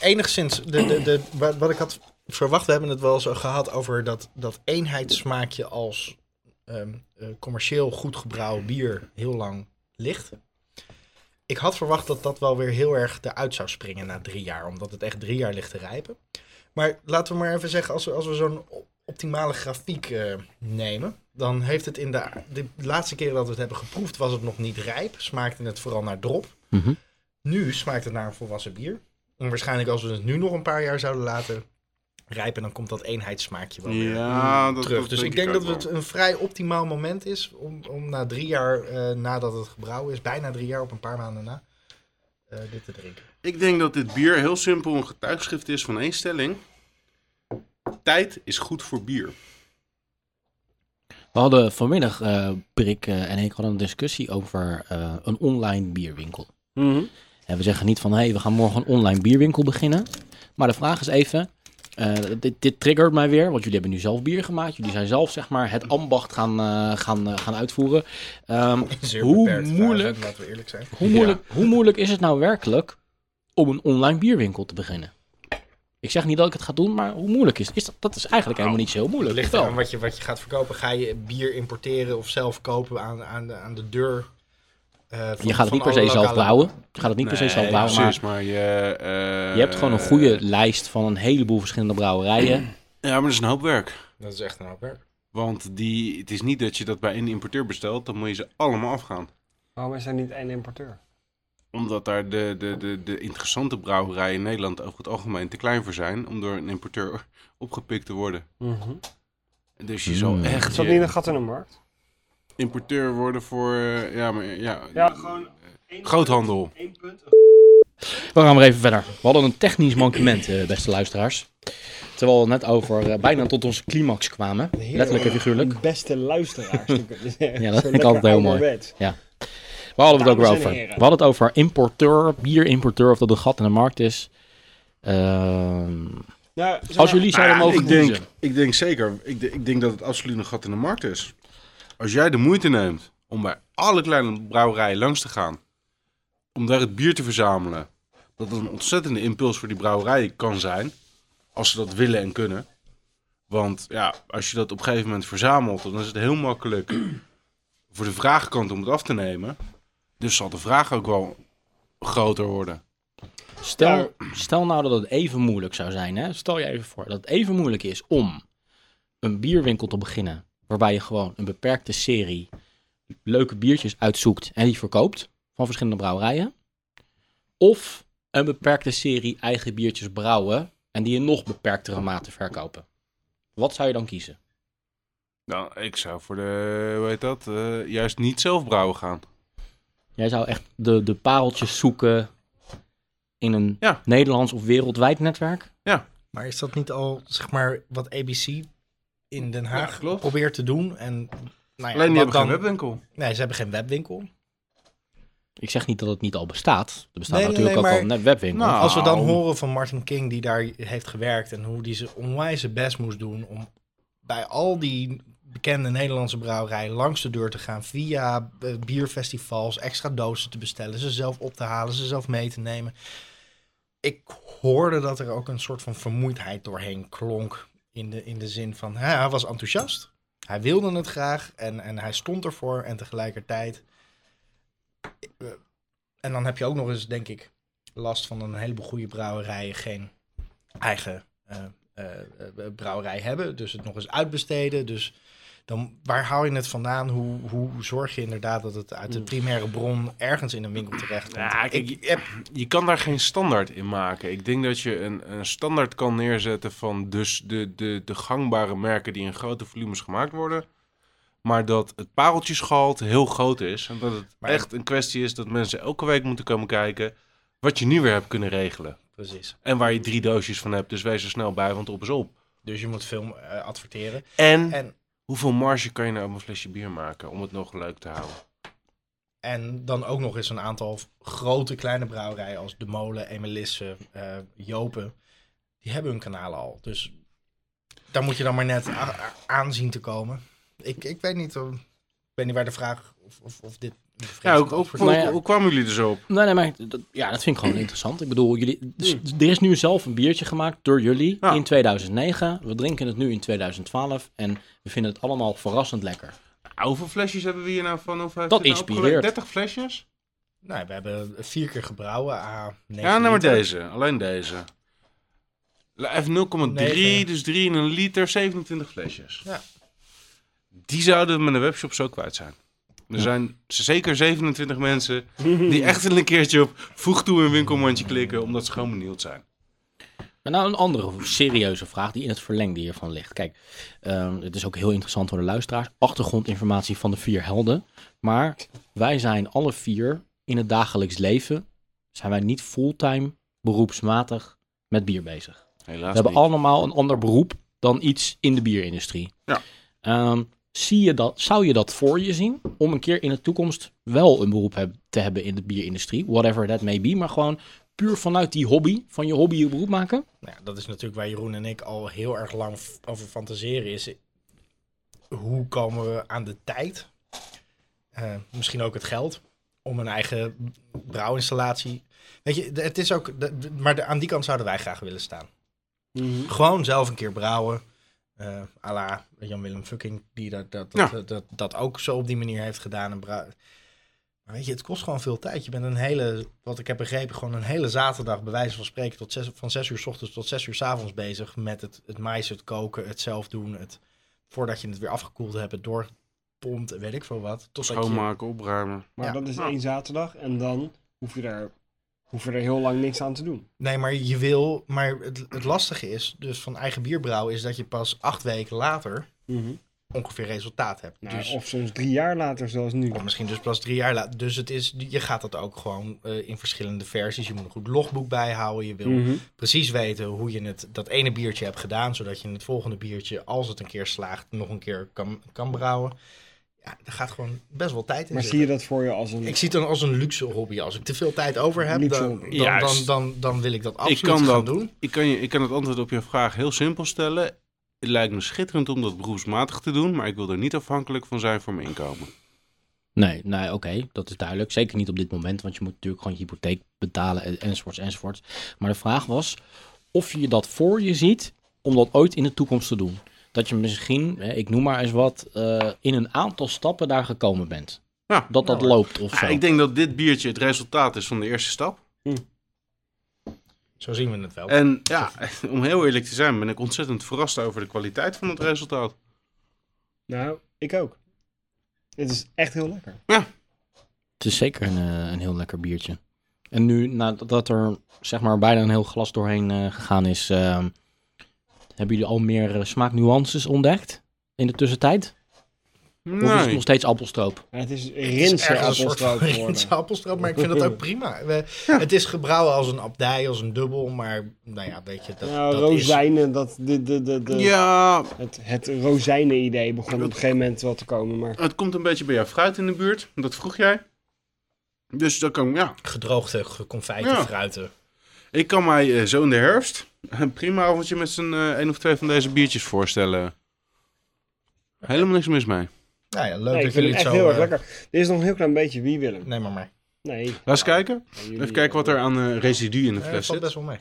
Enigszins, de, de, de, wat, wat ik had verwacht, we hebben het wel zo gehad over dat, dat eenheidssmaakje als ehm, eh, commercieel goed gebrouwen bier heel lang ligt. Ik had verwacht dat dat wel weer heel erg eruit zou springen na drie jaar, omdat het echt drie jaar ligt te rijpen. Maar laten we maar even zeggen, als we, als we zo'n op- optimale grafiek eh, nemen, dan heeft het in de, de laatste keer dat we het hebben geproefd, was het nog niet rijp. Smaakte het vooral naar drop.
Mhm.
Nu smaakt het naar een volwassen bier. En waarschijnlijk als we het nu nog een paar jaar zouden laten rijpen, dan komt dat eenheidssmaakje wel weer
Ja, dat,
terug.
dat
dus ik
ook
denk dat
wel.
het een vrij optimaal moment is om, om na drie jaar eh, nadat het gebrouwen is, bijna drie jaar op een paar maanden na, eh, dit te *laughs* drinken.
Ik denk dat dit bier heel simpel een getuigschrift is van één stelling. Tijd is goed voor bier.
We hadden vanmiddag, eh Brik eh, en ik hadden een discussie over eh, een online bierwinkel.
Mhm.
En we zeggen niet van, hé, hey, we gaan morgen een online bierwinkel beginnen. Maar de vraag is even, eh, dit, dit triggert mij weer, want jullie hebben nu zelf bier gemaakt. Jullie zijn zelf, zeg maar, het ambacht gaan, eh, gaan, eh, gaan uitvoeren. Ehm,
Zeer
Hoe
beperkt, trouwens,
moeilijk-
Laten we eerlijk zijn.
hoe, moeilijk, hoe moeilijk is het nou werkelijk om een online bierwinkel te beginnen? Ik zeg niet dat ik het ga doen, maar hoe moeilijk is het? Is dat, dat is eigenlijk helemaal niet zo heel moeilijk.
Nou, Ligt
wel.
eraan wat je, wat je gaat verkopen. Ga je bier importeren of zelf kopen aan, aan, de, aan de deur? eh, van-
Je gaat het
van
niet per
alle
se zelf
lokale-
brouwen. Je gaat het niet per se zelf brouwen, maar
precies, maar je... eh,
je hebt gewoon een goede lijst van een heleboel verschillende brouwerijen.
Ja, maar dat is een hoop werk.
Dat is echt een hoop werk.
Want die, het is niet dat je dat bij één importeur bestelt, dan moet je ze allemaal afgaan.
Waarom is er niet één importeur?
Omdat daar de, de, de, de interessante brouwerijen in Nederland over het algemeen te klein voor zijn om door een importeur *laughs* opgepikt te worden.
Mhm.
Dus je zal
Mm.
echt
Zat
je
niet een gat in de markt?
importeur worden voor... eh, ja, maar, ja,
gewoon
groothandel.
één punt.
We gaan weer even verder. We hadden een technisch mankement, eh, beste luisteraars. Terwijl we net over eh, bijna tot onze climax kwamen. Letterlijk en figuurlijk.
Beste luisteraars.
*laughs* Ja, dat vind ik altijd heel mooi. Waar hadden we het ook weer
Dames en
over? We
heren.
hadden het over importeur, bierimporteur, of dat een gat in de markt is. Ehm, als jullie zouden
Nou ja,
mogen
ik denk,
kiezen.
ik denk zeker. Ik, de- ik denk dat het absoluut een gat in de markt is. Als jij de moeite neemt om bij alle kleine brouwerijen langs te gaan, om daar het bier te verzamelen, dat het een ontzettende impuls voor die brouwerijen kan zijn, als ze dat willen en kunnen. Want ja, als je dat op een gegeven moment verzamelt, dan is het heel makkelijk *clears throat* voor de vraagkant om het af te nemen. Dus zal de vraag ook wel groter worden.
Stel, stel nou dat het even moeilijk zou zijn. Hè? Stel je even voor dat het even moeilijk is om een bierwinkel te beginnen. Waarbij je gewoon een beperkte serie leuke biertjes uitzoekt en die verkoopt. Van verschillende brouwerijen. Of een beperkte serie eigen biertjes brouwen. En die in nog beperktere mate verkopen. Wat zou je dan kiezen?
Nou, ik zou voor de, hoe heet dat, eh, juist niet zelf brouwen gaan.
Jij zou echt de, de pareltjes zoeken in een
Ja.
Nederlands of wereldwijd netwerk.
Maar is dat niet al, zeg maar, wat ABC in Den Haag
Ja, klopt.
probeert te doen? En, nou ja,
Alleen die
wat
hebben
dan-
geen webwinkel.
Nee, ze hebben geen webwinkel.
Ik zeg niet dat het niet al bestaat. Er bestaan
Nee, nee,
natuurlijk
nee,
ook
maar-
al net webwinkels.
Nou,
Als we dan
Nou.
horen van Martin King, die daar heeft gewerkt... en hoe die zijn onwijs zijn best moest doen om bij al die bekende Nederlandse brouwerijen... langs de deur te gaan via eh, bierfestivals, extra dozen te bestellen... ze zelf op te halen, ze zelf mee te nemen. Ik hoorde dat er ook een soort van vermoeidheid doorheen klonk... in de, in de zin van, hè, hij was enthousiast... Hij wilde het graag en, en hij stond ervoor en tegelijkertijd. eh, En dan heb je ook nog eens, denk ik, last van een heleboel goede brouwerijen geen eigen eh, eh, eh, brouwerij hebben. Dus het nog eens uitbesteden. Dus dan, waar haal je het vandaan? Hoe, hoe zorg je inderdaad dat het uit de primaire bron ergens in een winkel terecht komt?
Ja, kijk, je, hebt- je kan daar geen standaard in maken. Ik denk dat je een, een standaard kan neerzetten van dus de, de, de gangbare merken die in grote volumes gemaakt worden. Maar dat het pareltjesgehalte heel groot is. En dat het
Maar-
echt een kwestie is dat mensen elke week moeten komen kijken wat je nu weer hebt kunnen regelen.
Precies.
En waar je drie doosjes van hebt, dus wees er snel bij, want op is op.
Dus je moet veel eh, adverteren.
En,
En,
hoeveel marge kan je nou op een flesje bier maken om het nog leuk te houden?
en dan ook nog eens een aantal grote kleine brouwerijen als De Molen, Emelisse, eh, Jopen. Die hebben hun kanalen al. Dus daar moet je dan maar net a- a- aan zien te komen. Ik, ik weet niet. eh, ik weet niet waar de vraag of, of, of dit... de vraag
Ja, hoe, hoe,
antwoord is.
hoe-
Nou ja.
hoe kwamen jullie er zo op?
Nee, nee, maar dat, ja, dat vind ik gewoon *clears throat* interessant. Ik bedoel,
Hmm.
jullie, dus er is nu zelf een biertje gemaakt door jullie
Ja.
in 2009. We drinken het nu in 2012 en we vinden het allemaal verrassend lekker.
Ah, Hoeveel flesjes hebben we hier nou van? Of heeft
Dat
dit nou opgewerkt?
inspireert.
30 flesjes?
Nou, we hebben vier keer gebrouwen. Ah,
Ja, nou maar deze. Alleen deze. La- Even 0,3,
Negen.
dus 3 in een liter, 27 flesjes.
Ja.
Die zouden we met een webshop zo kwijt zijn. Er zijn zeker 27 mensen die echt een keertje op voeg toe een winkelmandje klikken, omdat ze gewoon benieuwd zijn.
Maar nou, een andere serieuze vraag die in het verlengde hiervan ligt. Kijk, ehm, het is ook heel interessant voor de luisteraars. Achtergrondinformatie van de vier helden. Maar wij zijn alle vier in het dagelijks leven, zijn wij niet fulltime beroepsmatig met bier bezig.
Helaas
We hebben
niet.
allemaal een ander beroep dan iets in de bierindustrie.
Ja.
Ehm, zie je dat, zou je dat voor je zien om een keer in de toekomst wel een beroep heb- te hebben in de bierindustrie? Whatever that may be, maar gewoon puur vanuit die hobby, van je hobby je beroep maken?
Nou ja, dat is natuurlijk waar Jeroen en ik al heel erg lang f- over fantaseren. Is hoe komen we aan de tijd, eh, misschien ook het geld, om een eigen brouwinstallatie. Weet je, de- het is ook. de- de- maar de- aan die kant zouden wij graag willen staan.
Mhm.
Gewoon zelf een keer brouwen. eh à la Jan-Willem Fucking, die dat, dat, dat, dat, dat, ook zo op die manier heeft gedaan. En brou- maar weet je, het kost gewoon veel tijd. Je bent een hele, wat ik heb begrepen, gewoon een hele zaterdag, bij wijze van spreken, tot zes, van 6 uur 's ochtends tot 6 uur 's avonds bezig met het, het mais, het koken, het zelf doen. Het, voordat je het weer afgekoeld hebt, het doorpompt en weet ik veel wat. Totdat je,
Schoonmaken, opruimen.
Maar
Ja.
dat is één zaterdag en dan hoef je, daar, hoef je er heel lang niks aan te doen.
nee, maar je wil, maar het, het lastige is, dus van eigen bierbrouwen, is dat je pas acht weken later
Mhm.
ongeveer resultaat hebt.
Nou,
dus,
Of soms drie jaar later, zoals nu.
Of misschien dus pas drie jaar later. Dus het is, je gaat dat ook gewoon eh, in verschillende versies. Je moet een goed logboek bijhouden. Je wil
Mhm.
precies weten hoe je het, dat ene biertje hebt gedaan. Zodat je het volgende biertje, als het een keer slaagt, nog een keer kan, kan brouwen. Ja, daar gaat gewoon best wel tijd in
Maar zie
zitten.
je dat voor je als een...
Ik zie het dan als een luxe hobby. Als ik te veel tijd over heb,
Luxe
dan,
hobby.
dan, dan,
Juist.
dan, dan wil ik dat absoluut
ik kan
gaan
dat,
doen.
Ik kan, je, ik kan het antwoord op je vraag heel simpel stellen. Het lijkt me schitterend om dat beroepsmatig te doen, maar ik wil er niet afhankelijk van zijn voor mijn inkomen.
Nee, nee, oké, dat is duidelijk. Zeker niet op dit moment, want je moet natuurlijk gewoon je hypotheek betalen en- enzovoorts enzovoorts. Maar de vraag was of je dat voor je ziet om dat ooit in de toekomst te doen. Dat je misschien, hè, ik noem maar eens wat, eh, in een aantal stappen daar gekomen bent.
Ja.
Dat dat loopt of zo.
Ah, ik denk dat dit biertje het resultaat is van de eerste stap.
Zo zien we het wel.
En ja, *laughs* om heel eerlijk te zijn, ben ik ontzettend verrast over de kwaliteit van het resultaat.
Nou, ik ook. Het is echt heel lekker.
Het is zeker een, eh, een heel lekker biertje. En nu, nadat er zeg maar bijna een heel glas doorheen eh, gegaan is, ehm, hebben jullie al meer eh, smaaknuances ontdekt in de tussentijd? Of is het nog steeds appelstroop?
En het is
Het is
rinsen
ergens een soort van
appelstroop
Rinse
geworden.
appelstroop, maar ik vind dat ook prima. We- Het is gebrouwen als een abdij, als een dubbel, maar nou ja, weet je, dat,
Nou,
dat is...
rozijnen, dat, de, de, de, de,
Ja,
het, het rozijnen-idee begon op een gegeven moment wel te komen. Maar
het komt een beetje bij jouw fruit in de buurt. Dat vroeg jij. Dus dat kan, ja.
gedroogde geconfijte
Ja.
fruiten.
Ik kan mij eh, zo in de herfst *laughs* een prima avondje met z'n eh, één of twee van deze biertjes voorstellen. Helemaal niks mis mee.
Nou ja, leuk
nee, ik
dat
vind
jullie
het
het
echt
zo...
heel erg
eh,
lekker. Er is nog een heel klein beetje wie Willem.
Nee, maar maar.
Nee.
Laat eens kijken.
Ja, jullie-
Even kijken wat er aan eh, residu in de
Eh, dat
fles
valt best
zit.
wel mee.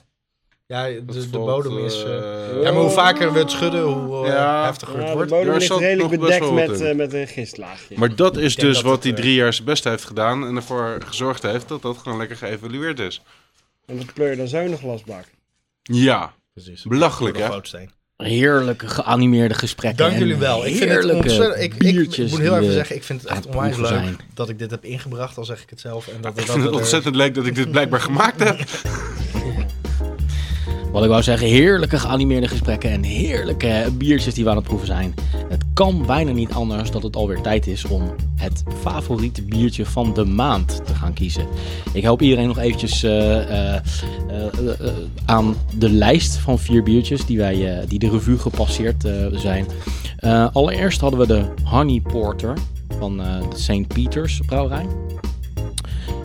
Ja, de,
Dat
de
valt,
bodem is...
eh,
eh, ja, maar hoe vaker we het schudden, hoe eh,
Ja.
heftiger het
Ja, de
wordt.
Daar
bodem ligt
zat
redelijk
nog best
bedekt
wel
met,
wat in.
eh, met een gistlaagje.
Maar dat is
Ik denk
dus
dat
wat
het,
hij
eh,
drie jaar zijn best heeft gedaan en ervoor gezorgd heeft dat dat gewoon lekker geëvalueerd is.
En dat pleur je dan zo in een glasbak.
Ja,
Precies.
belachelijk
Door
hè?
de gootsteen.
Heerlijke geanimeerde gesprekken.
Dank
en
jullie wel. Ik vind het
heerlijke
ontzettend... Ik, ik
biertjes
moet heel
die,
even
eh,
zeggen, ik vind het
aan
echt
het
onwijs leuk
proeven zijn.
dat ik dit heb ingebracht, al zeg ik het zelf. En dat, eh,
Ik
dat
vind het
er-
ontzettend leuk dat ik dit
*laughs*
blijkbaar gemaakt heb.
Wat ik wou zeggen, heerlijke geanimeerde gesprekken en heerlijke biertjes die we aan het proeven zijn. Het kan bijna niet anders dat het alweer tijd is om het favoriete biertje van de maand te gaan kiezen. Ik help iedereen nog eventjes eh, eh, eh, eh, eh, aan de lijst van vier biertjes die, wij, eh, die de revue gepasseerd eh, zijn. Eh, allereerst hadden we de Honey Porter van eh, de St. Peters brouwerij.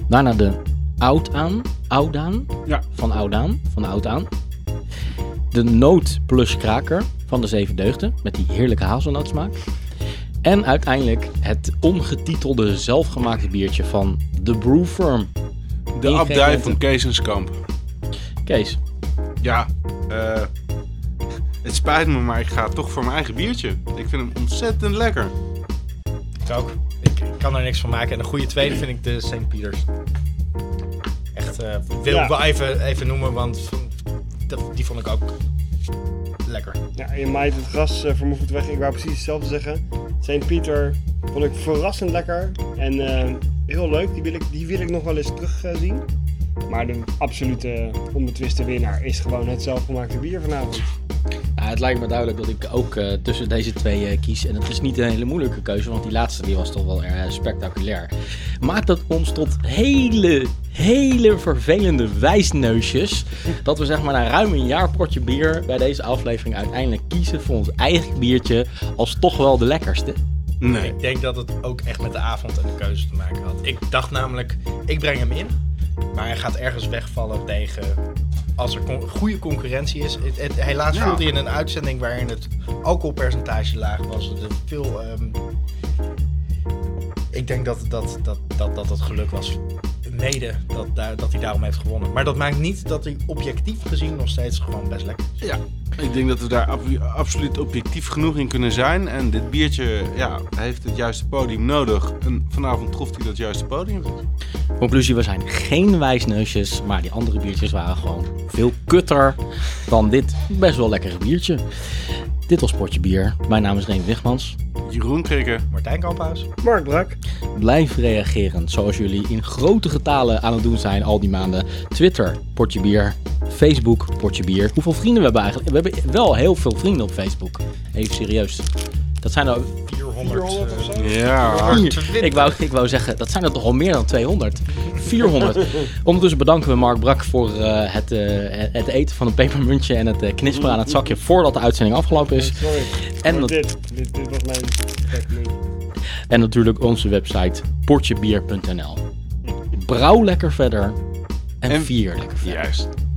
Daarna de Oudaan, Oudaan
Ja.
van Oudaan, van Oudaan. De noot plus kraker van de Zeven Deugden met die heerlijke hazelnootsmaak. En uiteindelijk het ongetitelde zelfgemaakte biertje van The Brew Firm.
De abdij van Kees en Skamp.
Kees,
Ja, eh, het spijt me, maar ik ga toch voor mijn eigen biertje. Ik vind hem ontzettend lekker.
Ik ook. Ik, ik kan er niks van maken. En een goede tweede vind ik de St. Pieters. Echt, eh, wil
Ja.
ik wel even, even noemen, want van- dat- die vond ik ook lekker.
Ja, je maait het gras uh, vermoedelijk weg. Ik wou precies hetzelfde zeggen. St. Pieter vond ik verrassend lekker. En eh, heel leuk. Die wil, ik, die wil ik nog wel eens terugzien. maar de absolute eh, onbetwiste winnaar is gewoon het zelfgemaakte bier vanavond.
Ja, het lijkt me duidelijk dat ik ook eh, tussen deze twee eh, kies. En het is niet een hele moeilijke keuze, want die laatste die was toch wel erg eh, spectaculair. Maakt dat ons tot hele, hele vervelende wijsneusjes. Dat we zeg maar na ruim een jaar potje bier bij deze aflevering uiteindelijk kiezen voor ons eigen biertje als toch wel de lekkerste.
Nee.
Ik denk dat het ook echt met de avond en de keuze te maken had. Ik dacht namelijk, ik breng hem in, maar hij gaat ergens wegvallen tegen. Als er con- goede concurrentie is. Het- het- helaas
Ja.
voelde je in een uitzending waarin het alcoholpercentage laag was. Er veel. ehm, ik denk dat dat, dat, dat, dat het geluk was. Mede dat, daar- dat hij daarom heeft gewonnen. Maar dat maakt niet dat hij objectief gezien nog steeds gewoon best lekker is.
Ja, ik denk dat we daar ab- absoluut objectief genoeg in kunnen zijn. En dit biertje ja, heeft het juiste podium nodig. En vanavond trof hij dat juiste podium.
Conclusie, we zijn geen wijsneusjes, maar die andere biertjes waren gewoon veel kutter dan dit best wel lekkere biertje. Dit was Potje Bier. Mijn naam is Reen Wigmans.
Jeroen Krikken.
Martijn Kamphuis.
Mark Brak.
Blijf reageren zoals jullie in grote getalen aan het doen zijn al die maanden. Twitter, Potje Bier. Facebook, Potje Bier. Hoeveel vrienden we hebben eigenlijk? We hebben wel heel veel vrienden op Facebook. Even serieus. Dat zijn er...
400.
400 of
eh,
zo.
Ja.
Ik wou, ik wou zeggen, dat zijn er toch al meer dan 200.
*laughs*
400. Ondertussen bedanken we Mark Brak voor eh, het, eh, het eten van het pepermuntje en het eh, knisperen aan het zakje voordat de uitzending afgelopen is.
Sorry.
En
Maar
dat-
dit, dit, dit was mijn backmood.
En natuurlijk onze website portjebier.nl. Brouw lekker verder en,
En-
vier lekker verder.
Juist.